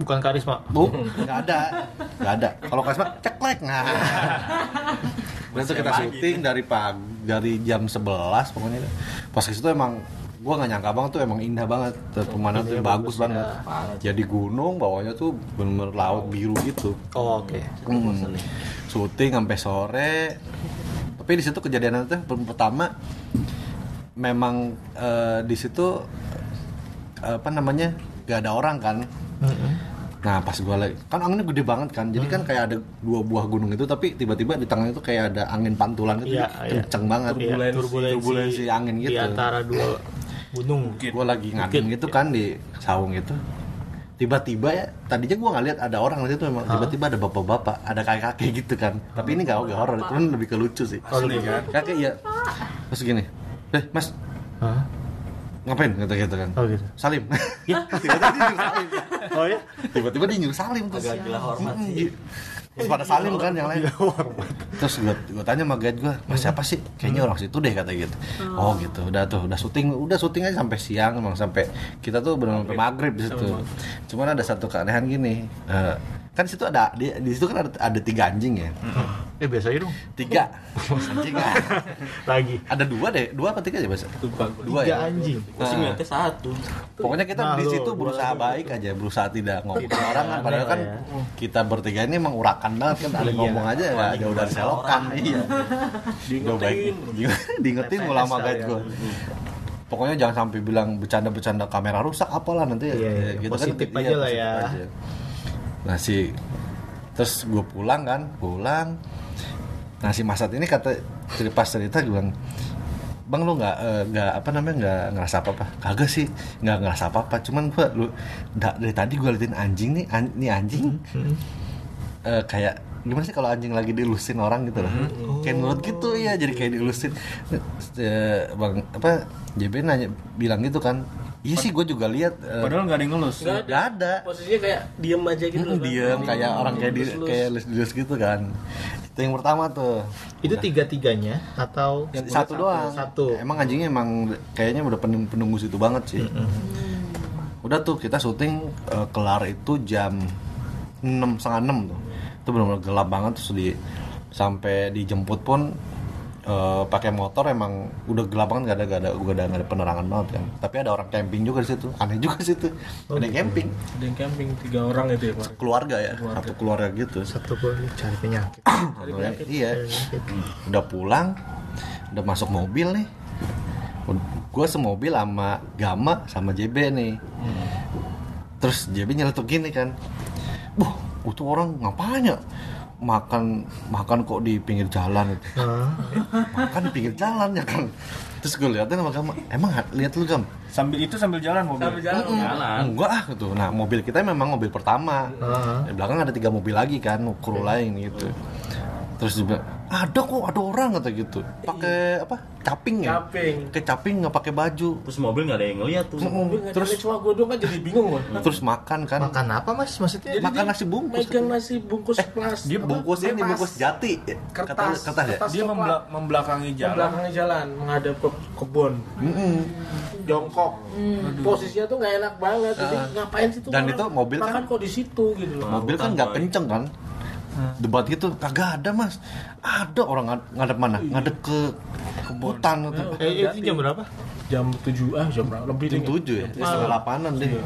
Bukan karisma.
Bu, nggak ada, nggak ada. Kalau kasma ceklek nah. Dan itu kita syuting dari pagi, dari jam 11 pokoknya. Pas ke situ emang gua nggak nyangka banget tuh emang indah banget pemandangan tuh Iya, bagus banget. Jadi gunung bawahnya tuh bener-bener laut biru gitu.
Oh, oke.
Hmm. Syuting sampai sore. Tapi di situ kejadian itu pertama memang eh, di situ eh, apa namanya gak ada orang kan. Nah pas gue lagi kan anginnya gede banget kan, jadi kan kayak ada dua buah gunung itu tapi tiba-tiba di tangannya itu kayak ada angin pantulan itu
Iya, iya.
kenceng banget,
Iya, turbulensi,
turbulensi angin gitu.
Di antara dua gunung.
Gue lagi ngadem gitu kan di saung itu, tiba-tiba ya tadinya gue nggak lihat ada orang itu memang tiba-tiba ada bapak-bapak, ada kakek-kakek gitu kan. Tapi ini nggak nggak horor, itu kan lebih ke lucu sih.
lebih
kan? Kakek ya, terus gini, eh mas
Hah?
ngapain kata gitu kan?
Oh, gitu.
Salim. Ya, tiba-tiba dia nyuruh salim. Oh ya?
iya?
Tiba-tiba dia nyuruh salim terus.
Agak gila hormat
Mm-mm,
sih.
gitu. Terus pada salim kan yang lain. Terus gue gue tanya sama guide gue, "Mas siapa sih? Kayaknya orang situ deh," kata gitu. Oh, gitu. Udah tuh, udah syuting, udah syuting aja sampai siang emang sampai kita tuh benar sampai maghrib di situ. Cuman ada satu keanehan gini. eh, kan situ ada di, di situ kan ada, ada tiga anjing ya.
Eh, biasa aja dong.
Tiga. anjing ah.
Lagi.
Ada dua deh, dua apa tiga ya, Mas? Dua
Tiga
ya.
anjing.
Gua sih ngeliatnya satu
Pokoknya kita
Nah,
di
lu,
situ
gua
berusaha baik aja, berusaha tidak ngomong ke orang kan padahal kan
ya.
kita bertiga ini emang urakan banget kan
Iya,
ada yang ngomong aja ya jauh dari selokan iya. Jauh baik. Diingetin ulama guys gue. Pokoknya jangan sampai bilang bercanda-bercanda kamera rusak apalah nanti ya. Gitu kan,
Iya, iya. Positif aja lah ya.
positif aja. Nah si terus gue pulang kan, pulang. Nah si Masat ini kata cerita pas cerita gue bilang Bang lu nggak eh, nggak apa namanya nggak ngerasa apa apa? Kagak sih, nggak ngerasa apa apa. Cuman gue lu da- dari tadi gue liatin anjing nih, an- nih anjing eh, kayak gimana sih kalau anjing lagi dilusin orang gitu loh kayak nurut gitu ya jadi kayak dilusin Eh, bang apa JB nanya bilang gitu kan iya sih gue juga lihat eh,
padahal nggak ada yang ngelus
nggak ada,
posisinya kayak diem aja gitu
Mm,
loh, kan?
diem kayak orang kayak di, kayak lus lus gitu kan itu yang pertama tuh
Itu tiga-tiganya atau
satu doang
Satu.
emang anjingnya emang kayaknya udah penung- penunggu situ banget sih Mm. udah tuh kita syuting eh, kelar itu jam enam setengah enam tuh itu benar-benar gelap banget terus di sampai dijemput pun eh, pakai motor emang udah gelap banget gak ada gak ada gak ada, nggak ada penerangan banget kan tapi ada orang camping juga di situ aneh juga di situ
Oh, gitu.
ada yang camping
ada yang camping tiga orang itu ya Pak?
keluarga ya satu keluarga gitu
Satu pun cari penyakit.
Iya, iya. Udah pulang, udah masuk mobil nih. Gue semobil sama Gama sama JB nih. Terus JB nyeletuk gini kan. Wah, itu orang ngapain ya? Makan makan kok di pinggir jalan gitu. makan di pinggir jalan ya kan. Terus gue liatin sama Gam, emang ha- lihat lu Gam?
sambil itu sambil jalan mobil
Sambil jalan
Jalan.
Enggak ah gitu. Nah, mobil kita memang mobil pertama. Di belakang ada tiga mobil lagi kan, kru lain gitu. Terus juga ada kok ada orang kata gitu. Pakai apa? Caping ya?
Caping.
Pakai caping nggak pakai baju.
Terus mobil nggak ada yang ngeliat tuh.
Mobil nggak terus cuma gue doang kan jadi bingung gua.
Terus makan kan?
makan apa Ah, mas maksudnya
makan nasi bungkus.
Megang nasi bungkus plastik.
Eh, Dia bungkusnya ini bungkus jati.
kertas,
kertas ya?
kertas
dia
coklat.
membela- membelakangi
Ke
jalan
belakangnya jalan menghadap ke kebun. Jongkok. Posisinya tuh nggak enak banget. Jadi ngapain sih tuh?
Ah. Dan
orang
itu mobil
makan
kan-
kok di situ gitu loh.
mobil kan nggak
Tanpa-
kenceng kan debat gitu kagak ada mas ada orang ngad- ngadep mana
Iya.
ngadep ke ke hutan gitu.
eh, itu jam berapa
jam 7 ah jam berapa lebih
jam
deh.
tujuh ya setengah delapanan deh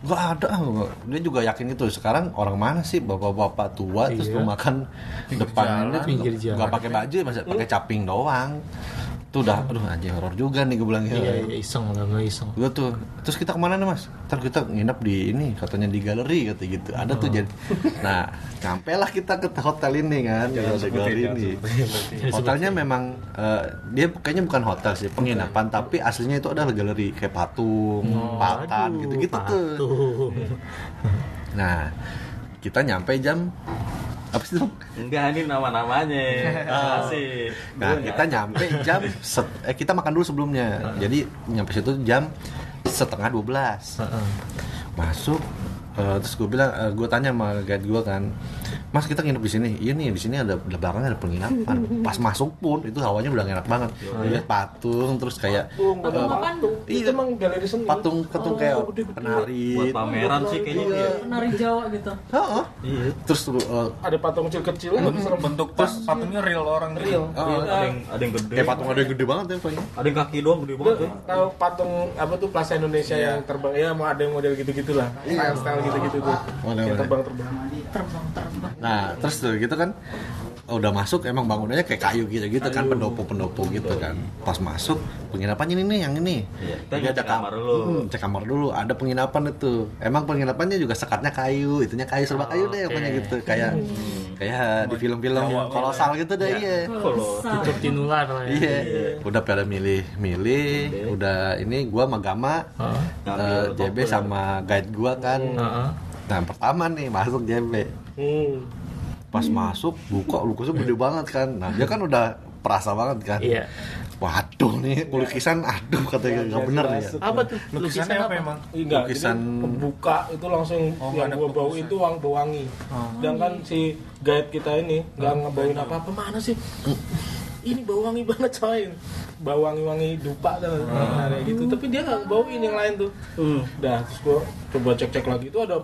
nggak ada ah, nggak. dia juga yakin itu sekarang orang mana sih bapak-bapak tua terus lu makan depan ini
pinggir
tuh nggak
jalan.
pakai baju masa pakai caping doang itu udah aduh anjing horor juga nih gue bilang gitu.
iya iya iseng lah gue iseng
Gue tuh, terus kita kemana nih mas? Ntar kita nginep di ini, katanya di galeri kata gitu. Ada tuh jadi, nah sampailah kita ke hotel ini kan, di galeri ini. Hotelnya memang eh, dia kayaknya bukan hotel sih, penginapan tapi aslinya itu adalah galeri kayak patung, patan
Aduh,
gitu-gitu tuh.
patuh.
Nah kita nyampe jam apa sih dong?
Enggak ini nama-namanya. Ah, Asik.
Nah kita nyampe jam set- eh, kita makan dulu sebelumnya. Jadi nyampe situ jam setengah 12 masuk eh, terus gue bilang eh, gue tanya sama guide gue kan mas kita nginep di sini iya nih di sini ada ada belakangnya ada penginapan pas masuk pun itu hawanya udah enak banget lihat patung terus kayak
eh. Patung, patung
eh,
apaan tuh? Itu
iya.
emang galeri seni.
patung patung kayak
Oh, gede-gede.
penari
Buat pameran sih kayaknya dia.
Penari Jawa gitu.
Heeh.
Iya.
terus eh,
Ada patung kecil-kecil kan serem banget.
bentuk pas patungnya real orang real
Oh,
eh,
Ada yang Iya, ada yang gede.
Iya.
kayak patung ada yang gede banget ya pokoknya
Ada yang kaki doang gede banget. ya.
Tahu patung apa tuh Plaza Indonesia yang terbang ya mau ada yang model gitu-gitu lah. Style-style gitu-gitu tuh.
Boleh,
Yang
boleh.
terbang-terbang.
Nah, terus tuh gitu kan udah masuk emang bangunannya kayak kayu gitu gitu kan pendopo-pendopo gitu kan. Pas masuk penginapannya ini nih yang ini.
Iya, kita
Jadi
cek kamar dulu.
Mm, cek kamar dulu. Ada penginapan itu. Emang penginapannya juga sekatnya kayu, itunya kayu serba kayu deh pokoknya gitu kayak kayak di film-film kolosal gitu deh iya.
Kalau
tutup tinular lah ya
Iya. Udah pada milih-milih, udah ini gua sama Gama, eh,
Ngambil
JB sama guide gua kan. Nah, pertama nih masuk JB
Hmm.
pas masuk buka lukasnya gede banget kan nah dia kan udah perasa banget kan
Iya.
waduh nih lukisan aduh katanya nggak bener nih ya
Apa tuh?
lukisannya apa emang
Enggak,
Lukisan-
jadi pembuka itu langsung
Oh,
yang
ada
gua bau
pembukaan.
itu wang bau wangi. Sedangkan si guide kita ini nggak ngebawain apa-apa. Mana sih? Ini bau wangi banget coy. Bau wangi-wangi dupa kan nah, kayak gitu. Tapi dia nggak bauin yang lain tuh. Udah, terus gua coba cek-cek lagi itu ada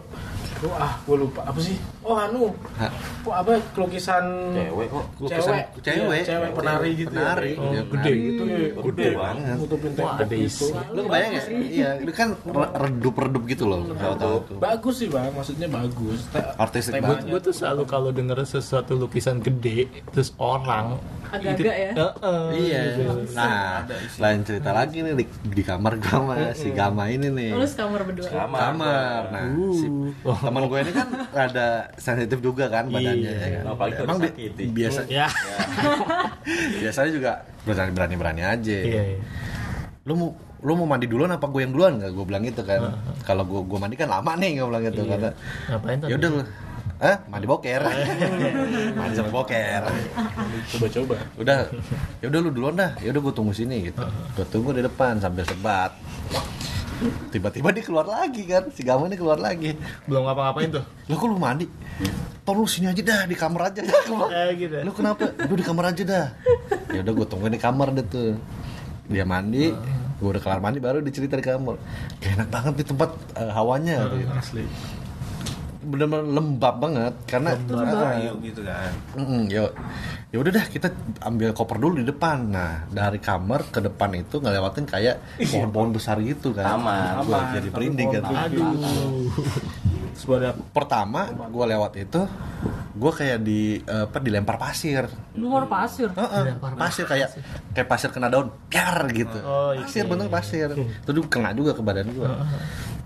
Oh, ah, gua lupa apa sih? Oh, anu.
Hah?
Kok apa lukisan
cewek kok
lukisan
cewek,
cewek
Iya, cewek penari gitu. ya.
penari ya,
Gede gitu ya.
gede banget.
Nutupin
Wah,
tembok
ada
gitu.
isi.
lu kebayang ya iya itu kan redup redup gitu loh kalau tahu tuh
Bagus sih, Bang. Maksudnya bagus. Te-
artistik
gue
banget Iya.
tuh selalu kalau denger sesuatu lukisan gede terus orang
Agak-agak ya.
Eh? Heeh.
iya nah lain cerita lagi nih di, di kamar gua sama si Gama ini nih
Terus kamar berdua.
kamar nah si teman gue ini kan rada sensitif juga kan badannya ya kan?
Apalagi kalau
emang bi-
disakiti.
biasa
ya
biasanya Ya, juga berani berani berani aja
iya iya.
lu mau lu mau mandi duluan apa gue yang duluan nggak gue bilang gitu kan kalau gue gue mandi kan lama nih gue bilang gitu
Iya.
kata
ngapain tuh Oh, iya,
ya udah lu eh mandi boker mandi sama boker
Coba-coba.
udah ya udah lu duluan dah ya udah gue tunggu sini gitu gue tunggu di depan sambil sebat tiba-tiba dia keluar lagi kan si Gama ini keluar lagi
belum ngapa-ngapain tuh
lo kok lu mandi Tolong lu sini aja dah di kamar aja Aku bilang,
Eh, gitu.
lu kenapa lu di kamar aja dah ya udah gue tungguin di kamar deh tuh dia mandi gue udah kelar mandi baru dicerita di kamar "Kayak enak banget di tempat eh, hawanya asli bener-bener lembab banget karena
kayu gitu kan
Mm-mm, yo. Ya udah dah kita ambil koper dulu di depan. Nah, dari kamar ke depan itu ngelewatin kayak pohon-pohon besar gitu kan.
Taman.
Gua jadi merinding kan.
aduh
Sebenarnya
Pertama gua lewat itu gua kayak di eh, apa dilempar pasir.
Luar pasir.
Heeh, pasir kayak kayak pasir kena daun, piar gitu.
Oh, iya.
pasir bener pasir. Itu juga kena juga ke badan gua.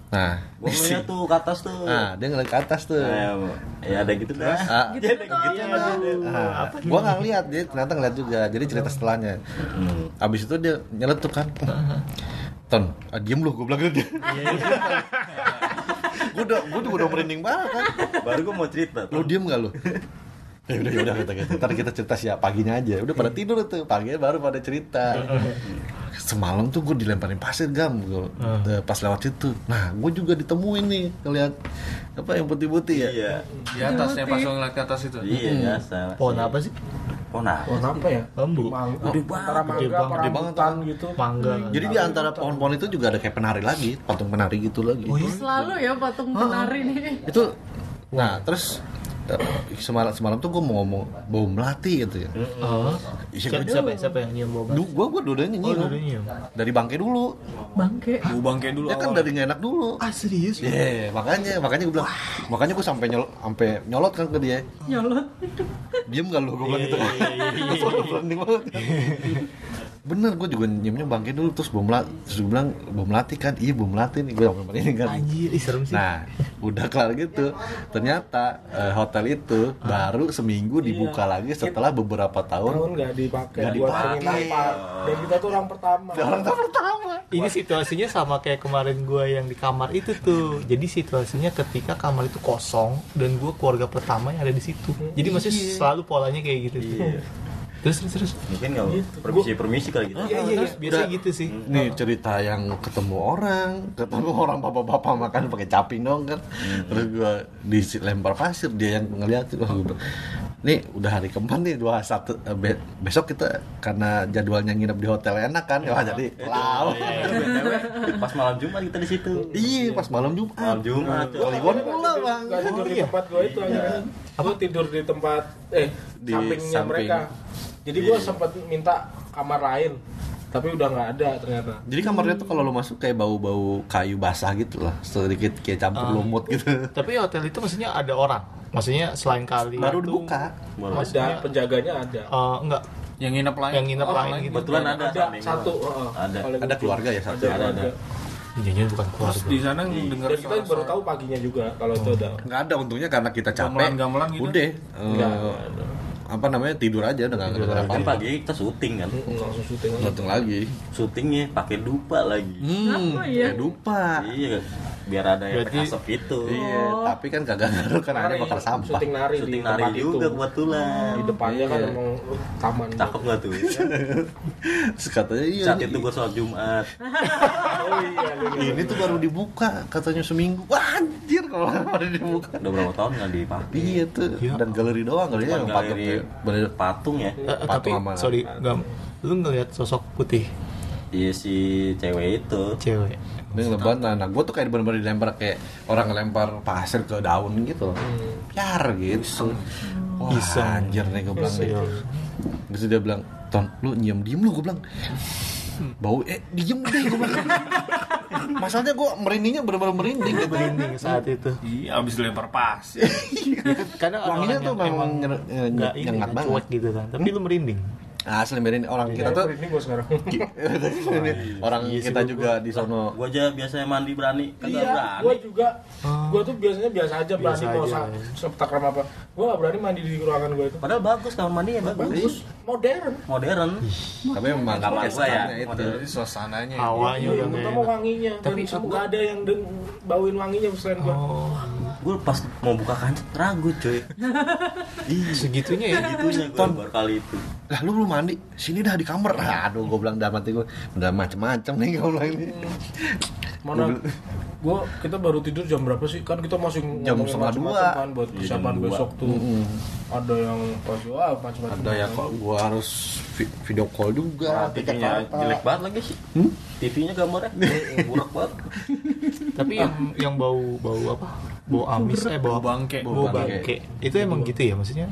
Nah,
Gua ngeliat tuh ke atas tuh.
nah dia ngeliat ke atas tuh.
Eh, ya ada gitu dah.
Ah,
Gitu dong.
Ah, gua nggak ngeliat dia ternyata ngeliat juga jadi cerita setelahnya
Hmm.
abis itu dia nyeletuk kan ton ah, diem lu gue bilang gitu gue udah gue udah udah merinding banget kan
Baru gua mau cerita.
lu diem gak lu ya udah ya udah kata gitu ntar kita cerita siap paginya aja udah pada tidur tuh paginya baru pada cerita semalam tuh gue dilemparin pasir gam gua, pas lewat situ nah gue juga ditemuin nih ngeliat apa yang putih-putih ya
Iya.
Di atasnya pas lo ngeliat ke atas itu.
Iya biasa.
Pohon apa sih?
Ponah.
apa ya?
Bambu.
Gede banget,
Gede
mangga,
banget.
Gede banget.
perambutan gitu.
Mangga.
Jadi di antara pohon-pohon itu juga ada kayak penari lagi, patung penari gitu lagi.
Oh iya.
Selalu ya patung penari nih.
Itu nah, terus eh, semalam semalam tuh gue mau ngomong bau melati gitu ya.
Oh.
Iya,
Siapa,
gue
siapa, siapa yang nyium bau
Du, gua gua dua-duanya
Oh,
nyium.
dulu nyium.
Dari bangke dulu.
Bangke.
Gue bangke dulu
Ya kan
awal.
dari nggak enak dulu.
Ah serius?
Iya, makanya makanya gue bilang, makanya gue sampai nyol sampai nyolot kan ke dia.
Nyolot.
Diem gak lu gue bilang
Iya,
gitu. Terus gua Beranding banget. Bener, gue juga nyiumnya bangke dulu terus bom melati, terus gue bilang bom melati kan, iya bom melati nih gue sampai merinding kan.
Anjir, ih, serem sih.
Nah, udah kelar gitu. Ternyata eh, hotel itu baru seminggu dibuka lagi setelah beberapa
Tahun
tahun.
nggak dipakai
Nggak
buat
dipakai.
penginapan. Dan kita tuh orang pertama.
Orang tuh pertama.
Ini situasinya sama kayak kemarin gua yang di kamar itu tuh. Jadi situasinya ketika kamar itu kosong dan gua keluarga pertama yang ada di situ. Jadi masih selalu polanya kayak gitu. tuh.
Iya.
Terus terus terus.
Mungkin nggak permisi-permisi kali gitu.
Iya iya iya, biasanya gitu sih.
Nih cerita yang ketemu orang, ketemu orang bapak-bapak makan pakai caping dong kan. Terus gua dilempar pasir dia yang ngeliat Wah, gua bilang, Nih udah hari keempat nih dua satu eh, be- besok kita karena jadwalnya nginep di hotel enak kan ya jadi wow
BTW, pas malam Jumat kita di situ.
iya pas malam
Malam
Jumat
Jumat.
Kliwon pula bang
Nggak tidur di tempat gue itu akhirnya. Gue tidur di tempat eh
Di
sampingnya
samping.
mereka. Jadi gue sempat minta kamar lain, tapi udah nggak ada ternyata.
Jadi kamarnya tuh kalau lo masuk kayak bau-bau kayu basah gitu lah, sedikit kayak
Ah.
campur lumut gitu.
Tapi hotel itu maksudnya ada orang. Maksudnya selain kali
Baru
itu,
dibuka.
Ada penjaganya ada.
eh, enggak
Yang nginep lain.
yang nginep lain gitu.
Kebetulan ada, samping gua.
satu. heeh.
Ada.
Paling
Ada
ujung.
keluarga ya satu.
Ada ada.
Jangan bukan
Terus
keluarga.
di sana denger
Dan kita baru tahu paginya juga kalau itu ada.
Nggak ada untungnya karena kita capek.
Gamelan-gamelan gitu?
Udah. eh, apa namanya tidur aja udah nggak ada apa
Kan pagi kita syuting kan.
Hmm.
Langsung syuting.
Datang lagi.
Syutingnya pakai dupa lagi.
Hmm,
Apa ya?
kayak dupa.
Iya, biar ada efek
Berarti-
asap gitu. itu.
Hmm. Iya, tapi kan kagak ngaruh karena ada
Nari,
bakar sampah.
Syuting nari
Oh. Syuting
di
nari
tempat itu.
juga kebetulan. Iya,
Di depannya kan
Iya.
emang taman.
Oh. Cakep nggak tuh?
Terus katanya iya.
Saat itu gua sholat Jumat.
Oh iya. iya.
Ini tuh baru dibuka katanya seminggu. Wah, anjir kalau baru dibuka.
Udah berapa tahun nggak dipakai?
Iya tuh. Dan galeri doang kali ya yang patung.
Galeri
tuh. Bener-
patung ya.
Eh, eh, tapi
Patung sama-
sorry, gam, lu ngelihat sosok putih
Iya si cewek itu.
cewek.
Dia ngelempar, nah, nah gue tuh kayak bener-bener dilempar kayak orang ngelempar pasir ke daun gitu
Hmm.
Piar gitu Wah anjir nih gue bilang nih Terus dia bilang, Ton lu nyium diem lu gue bilang Bau, eh diem deh gue bilang Masalahnya gue merindingnya bener-bener merinding gitu
Merinding saat itu.
Iya, abis dilempar pasir.
Kadang ada
Wanginya
orang
tuh
yang
memang
emang
nyer- eh,
nggak ini,
nyengat
nggak Iya.
banget
cuek gitu kan. Tapi lu merinding.
Asli merinding, orang kita tuh
Ini gue sekarang.
Orang
Iya
kita juga di sono
Gua aja biasanya mandi berani, kagak
Iya,
berani.
gue juga. Gue tuh biasanya biasa aja berani
Ah. Biasa
mau
aja,
sa-
ya.
septakram apa. Gue gak berani mandi di ruangan gue itu.
Padahal bagus kamar mandinya bagus.
Bagus, modern.
Modern.
Tapi memang
Kamar gua ya.
kesannya itu
Jadi suasananya.
Hawanya udah nggak
Iya, Terutama
enak.
wanginya. Tapi gak ada yang deng- bauin wanginya selain gue.
Oh.
Gue pas mau buka kancet ragu cuy.
Segitunya ya.
Segitunya gue baru kali itu.
lah lu belum mandi sini dah di kamar Lah, Ya, aduh gue bilang udah mati gue udah macem-macem nih gue bilang ini
Mana? Gue kita baru tidur jam berapa sih? Kan kita masih
Jam
ngomongin
setengah
macam-macam
dua.
kan buat
Iya,
persiapan
jam dua.
besok tuh. Ada yang pas wah macam-macam.
ada ya kok gue harus vi- video call
Ah,
juga
TV-nya Nah, jelek banget lagi sih. TV-nya gambarnya buruk banget.
Tapi yang yang bau bau apa? Bau amis eh Ah. bau
bangke.
Bau bangke. Itu emang gitu ya maksudnya?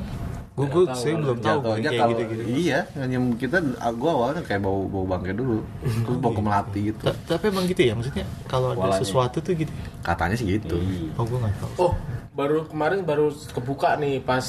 Gue gue saya belum tahu
jatuhnya
kayak
kalau
gitu gitu.
iya yang kita gue awalnya kayak bau bau bangke dulu terus bau ke melati gitu
Ta- Tapi emang gitu ya maksudnya kalau ada
Walanya.
sesuatu tuh gitu.
katanya sih gitu
Oh gue nggak tahu.
Oh,
baru kemarin baru kebuka nih pas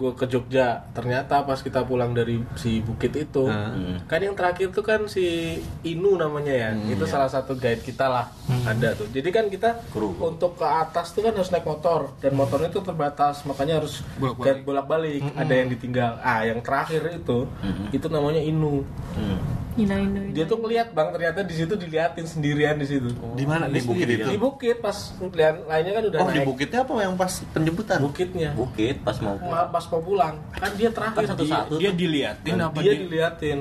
gue ke Jogja ternyata pas kita pulang dari si bukit itu
Ah.
kan yang terakhir tuh kan si Inu namanya ya
Hmm,
itu
iya.
salah satu guide kita lah ada tuh jadi kan kita untuk ke atas tuh kan harus naik motor dan motornya tuh terbatas makanya harus guide bolak-balik ada yang ditinggal ah yang terakhir itu
Hmm.
itu namanya Inu
Ina Ina.
dia tuh ngeliat bang ternyata di situ diliatin sendirian di situ
Di mana? Di bukit itu.
di bukit pas lihat lainnya kan udah
iya. Oh, di
naik
bukitnya apa yang pas penjemputan?
bukitnya
Bukit pas mau
Ma- pas mau pulang Iya. kan dia terakhir
Kan satu-satu
dia, dia
diliatin apa
dia diliatin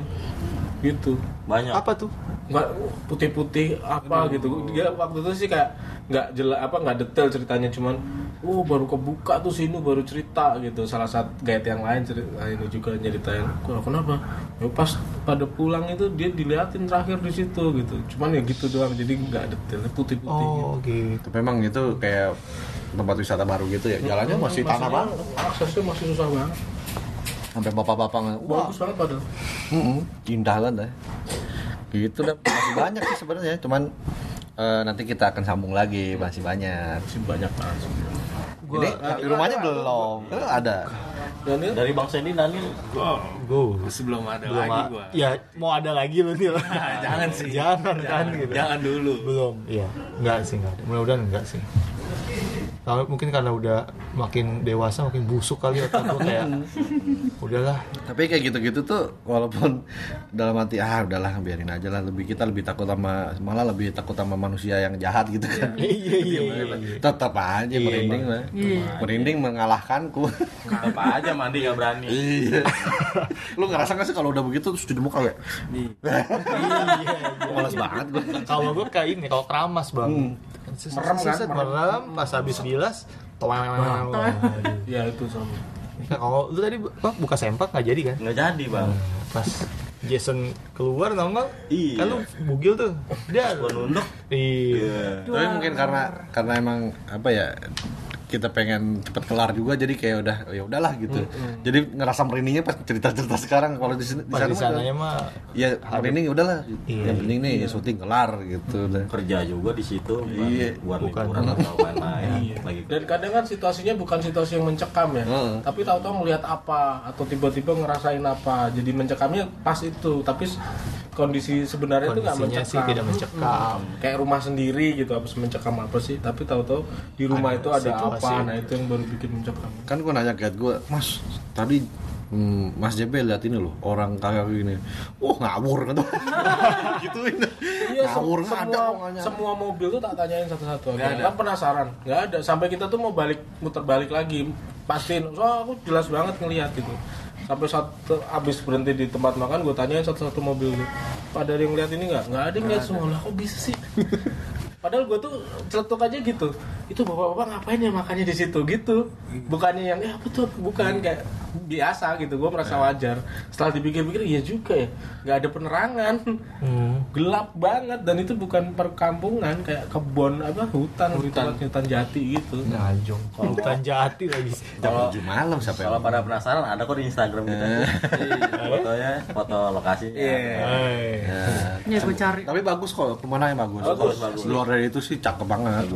gitu
banyak.
Apa tuh?
nggak putih-putih apa gitu dia waktu itu sih kayak nggak jelas apa nggak detail ceritanya cuman oh baru kebuka tuh sini baru cerita gitu salah satu guide yang lain cerita ini juga nyeritain "Wah, kenapa ya pas pada pulang itu dia diliatin terakhir di situ gitu cuman ya gitu doang jadi nggak detail putih-putih gitu.
Oh, gitu.
Tapi memang itu kayak tempat wisata baru gitu ya. Jalannya masih tanah
Maksudnya,
banget.
aksesnya masih susah banget
Sampai bapak-bapak nge- wah,
bagus banget padahal
mm-mm, indah banget dah. Gitu dah. Masih banyak sih sebenarnya, cuman eh, nanti kita akan sambung lagi masih banyak. Nah, iya,
masih banyak banget sebenarnya.
Ini di rumahnya belum. Eh, ada.
dan ini
Dari Bang Sandy Daniel
Go.
Masih belum ada
Belum
lagi
a-
gua.
Ya, mau ada lagi berarti ya? loh.
Eh,
jangan sih. jangan, kan gitu.
Jangan dulu.
Belum. Iya. Enggak sih, enggak ada. Mudah-mudahan enggak sih. Kalau mungkin karena udah makin dewasa makin busuk kali otak gue kayak udahlah
Tapi kayak gitu-gitu tuh walaupun dalam hati ah udahlah biarin aja lah lebih kita lebih takut sama malah lebih takut sama manusia yang jahat gitu kan.
iya iya iya
Tetap aja merinding lah. Merinding mengalahkanku.
apa aja mandi nggak berani.
Iya. Lu ngerasa gak sih kalau udah begitu terus cuci muka kayak Iya, Males banget gue.
kalau gue kayak ini kalau keramas bang merem kan merem pas habis bilas toang
ya itu sama
Nah, kalau lu tadi bu- apa, buka sempak nggak jadi kan?
Nggak jadi bang.
Pas Jason keluar tau nggak?
Iya.
Kan lu bugil tuh. Dia
Gua nunduk.
Iya.
Tapi mungkin karena karena emang apa ya kita pengen cepet kelar juga jadi kayak udah oh ya udahlah gitu. Jadi ngerasa merindingnya pas cerita-cerita sekarang kalau di sini di
Pas
sana
di
mah
sananya
udah,
mah
ya merinding ya udahlah. Yang penting nih ya syuting kelar gitu udah.
Kerja juga di situ. bukan-
Iya.
Bukan
Bukan.
liburan atau lain-lain. Lagi
dan kadang kan situasinya bukan situasi yang mencekam ya
Heeh.
Hmm.
tapi tahu-tahu ngelihat apa atau tiba-tiba ngerasain apa jadi mencekamnya pas itu tapi s- kondisi sebenarnya itu nggak
kondisinya
mencekam Hmm.
sih tidak mencekam.
kayak rumah sendiri gitu habis mencekam apa sih tapi tahu-tahu di rumah itu ada
situasi.
apa nah itu yang baru bikin mencekam
kan gue nanya guide gue mas tadi hmm, mas JB lihat ini loh orang kayak gini wah ngawur gitu gituin ngawur nggak ada
Iya, semua,
orangnya.
semua mobil tuh tak tanyain satu-satu aja. kan penasaran nggak ada sampai kita tuh mau balik muter balik lagi pastiin so aku jelas banget ngelihat itu sampai satu abis berhenti di tempat makan gue tanyain satu-satu mobil tuh pada ada yang ngeliat ini nggak nggak ada yang ngeliat semua lah kok bisa sih Padahal gue tuh celetuk aja gitu. Itu bapak-bapak ngapain ya makannya di situ gitu. Bukannya yang ya apa tuh bukan kayak biasa gitu. Gue merasa wajar. Setelah dipikir-pikir iya juga ya. Gak ada penerangan. Gelap banget dan itu bukan perkampungan kayak kebon apa hutan hutan, hutan jati gitu.
Anjong. Kalau hutan jati lagi.
jam tujuh malam siapa
Kalau pada penasaran ada kok di Instagram kita. Iya. Fotonya, Eh. foto Iya, lokasinya.
Hai.
Ya gue cari.
tapi bagus kok pemandangannya bagus
Bagus, bagus.
luar dari itu sih cakep banget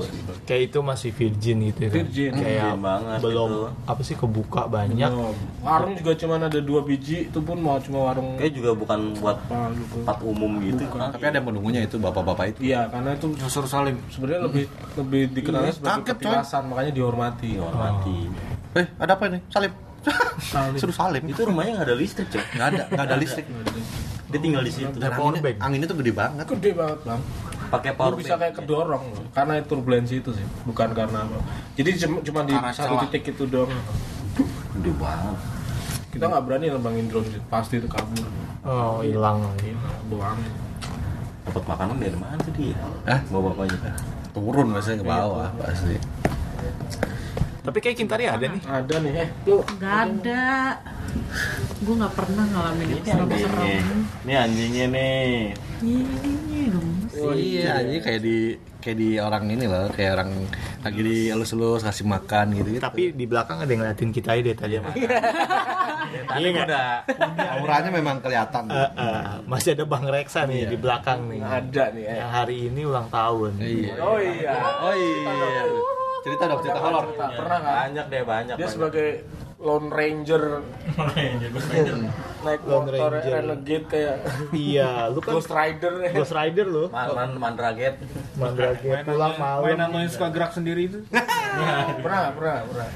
Kayak itu masih virgin gitu ya. kan?
Virgin.
Kayak
Virgin banget gitu.
belum
itu.
apa sih kebuka banyak.
Oh, warung juga cuman ada dua biji itu pun mau cuma warung
Kayak juga bukan buat
apa gitu.
tempat umum gitu.
tapi ada menunggunya itu bapak-bapak itu
Iya, karena itu
Yusur Salim.
sebenarnya lebih lebih dikenalnya sebagai
Cakep, coy.
petilasan, makanya dihormati.
Iya. Mati.
eh ada apa ini salib suruh salim
Itu rumahnya nggak ada listrik coy.
nggak ada nggak ada listrik
Dia tinggal di situ.
dan
power
anginnya,
bank.
anginnya tuh gede banget
Gede banget, Bang.
Pakai
Lu
power
bisa
bank.
kayak kedorong loh. karena turbulensi itu sih bukan karena apa jadi cem- cuma di
Karena
satu
celah.
titik itu doang
Gede banget.
kita nggak berani nembangin drone sih. pasti itu kabur
Oh, hilang lagi.
Gila, bawa angin.
Dapat makanan dari mana tuh dia?
Hah?
Bawa bapaknya.
Iya, turun biasanya ke bawah pasti
Tapi kayak Kintari ada nih.
ada nih eh lu
Gak ada. Gue nggak pernah ngalamin yang serem-serem.
Anjingnya. Ini anjingnya nih.
Iya dong.
iya, anjing kayak di kayak di orang ini loh, kayak orang lagi di elus-elus kasih makan gitu. -gitu.
Tapi di belakang ada yang ngeliatin kita deh tadi. Iya nggak?
auranya memang kelihatan.
Eh, eh, masih ada Bang Reksa nih di belakang nih.
ada nih eh
Yang hari ini ulang tahun.
Iya.
oh iya
Oh iya. cerita dong cerita horor
pernah kan
Banyak deh banyak.
dia
banyak.
sebagai Lone Ranger naik
Iya. Lone
motor
Ranger.
renegade kayak
iya lu kan
Ghost Rider ya.
Ghost Rider lu
Man, man, mandraget.
Mandrake pulang malam
mainan lo yang suka gerak sendiri itu
pernah pernah pernah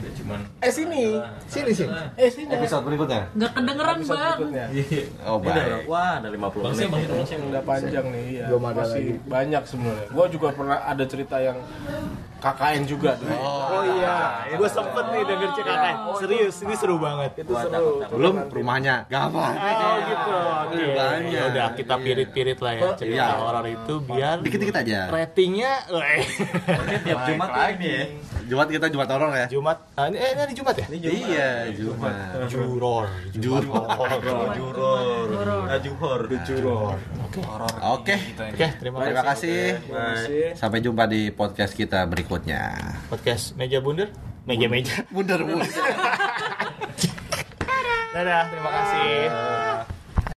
Ya, cuman
eh sini
sini sini
eh sini Iya,
episode berikutnya
Nggak kedengeran bang.
oh
Ini udah,
baik
wah, ada 50 menit.
udah panjang nih ya
Belum ada
masih
lagi.
banyak sebenarnya gua juga pernah ada cerita yang KKN juga dulu.
oh iya gue sempet nih denger cekakan serius ini seru banget
itu seru
belum rumahnya gampang
Oh gitu, oke.
Banyak.
Ya udah kita pirit-pirit lah ya cerita
Iya.
horor itu biar
dikit-dikit aja
ratingnya eh,
Tiap Jumat lagi ya.
Jumat kita Jumat horor ya
Jumat. ah, ini- eh ini hari Jumat ya?
iya Jumat
Juror.
Jumat
Juror. Oh, Nah, Juhor.
oke
Oke, terima
terima
kasih.
kasih sampai jumpa di podcast kita berikutnya
Podcast Meja Bundar. Meja-meja.
bundar bundar
Dadah, terima kasih.